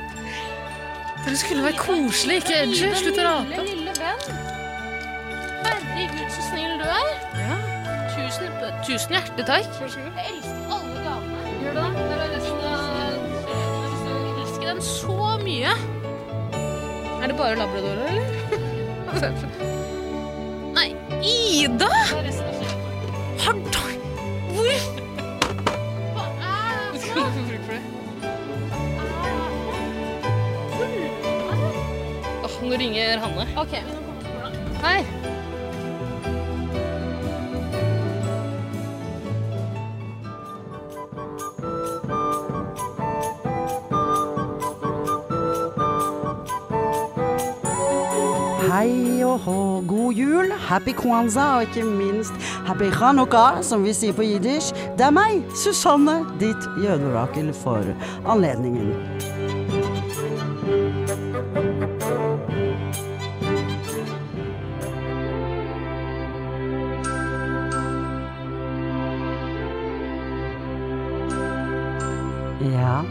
Speaker 2: Dere skulle være koselige, ikke edgy. Slutt å rape.
Speaker 1: Lille, lille venn. Herregud, så snill du er.
Speaker 2: Ja.
Speaker 1: Tusen, tusen hjertelig takk. Jeg elsker alle gavene. Gjør du det? er nesten, eh, Jeg elsker den så mye. Er det bare labradorer, eller? Nei, Ida! Har du Hvor Hva er det for noe? Ah.
Speaker 2: Åh, nå ringer Hanne.
Speaker 1: Ok, men nå kommer det bra.
Speaker 2: Hei.
Speaker 3: Hei og hå, god jul, happy kwanza og ikke minst happy chanukka, som vi sier på jiddisch. Det er meg, Susanne, ditt jødeorakel for anledningen. Ja,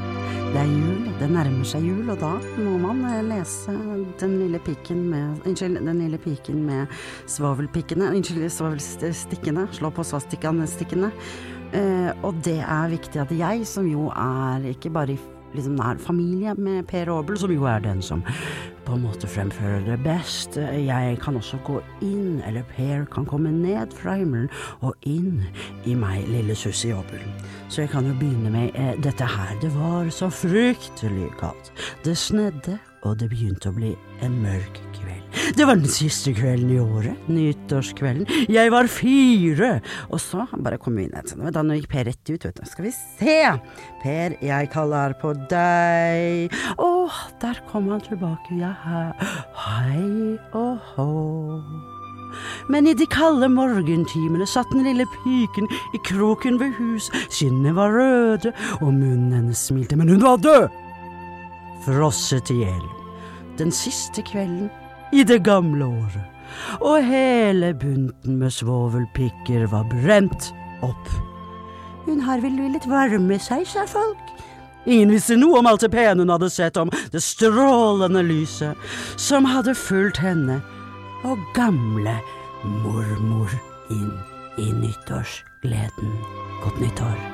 Speaker 3: det er jul, det nærmer seg jul, og da må man eh, lese Den lille piken med Unnskyld, Den lille piken med svovelpikkene Unnskyld, svovelstikkene. Slå på svastikastikkene. Eh, og det er viktig at jeg, som jo er ikke bare i f- liksom nær familie med Per Aabel, som jo er den som på en måte fremfører det best, eh, jeg kan også gå inn, eller Per kan komme ned fra himmelen og inn i meg, lille Sussi Aabel. Så jeg kan jo begynne med eh, dette her. Det var så fryktelig kaldt. Det snedde, og det begynte å bli en mørk kveld. Det var den siste kvelden i året, nyttårskvelden. Jeg var fire! Og så bare kom vi inn et sånt. Da nå gikk Per rett ut, vet du. Skal vi se! Per, jeg kaller på deg. Å, der kom han tilbake. Ja, he- hei og hå. Men i de kalde morgentimene satt den lille piken i kroken ved huset. Skinnene var røde, og munnen hennes smilte, men hun var død! Frosset i hjel. Den siste kvelden i det gamle året. Og hele bunten med svovelpikker var brent opp. Hun har vel villet varme seg, sa folk. Ingen visste noe om alt det pene hun hadde sett, om det strålende lyset som hadde fulgt henne og gamle mormor inn i nyttårsgleden. Godt nyttår.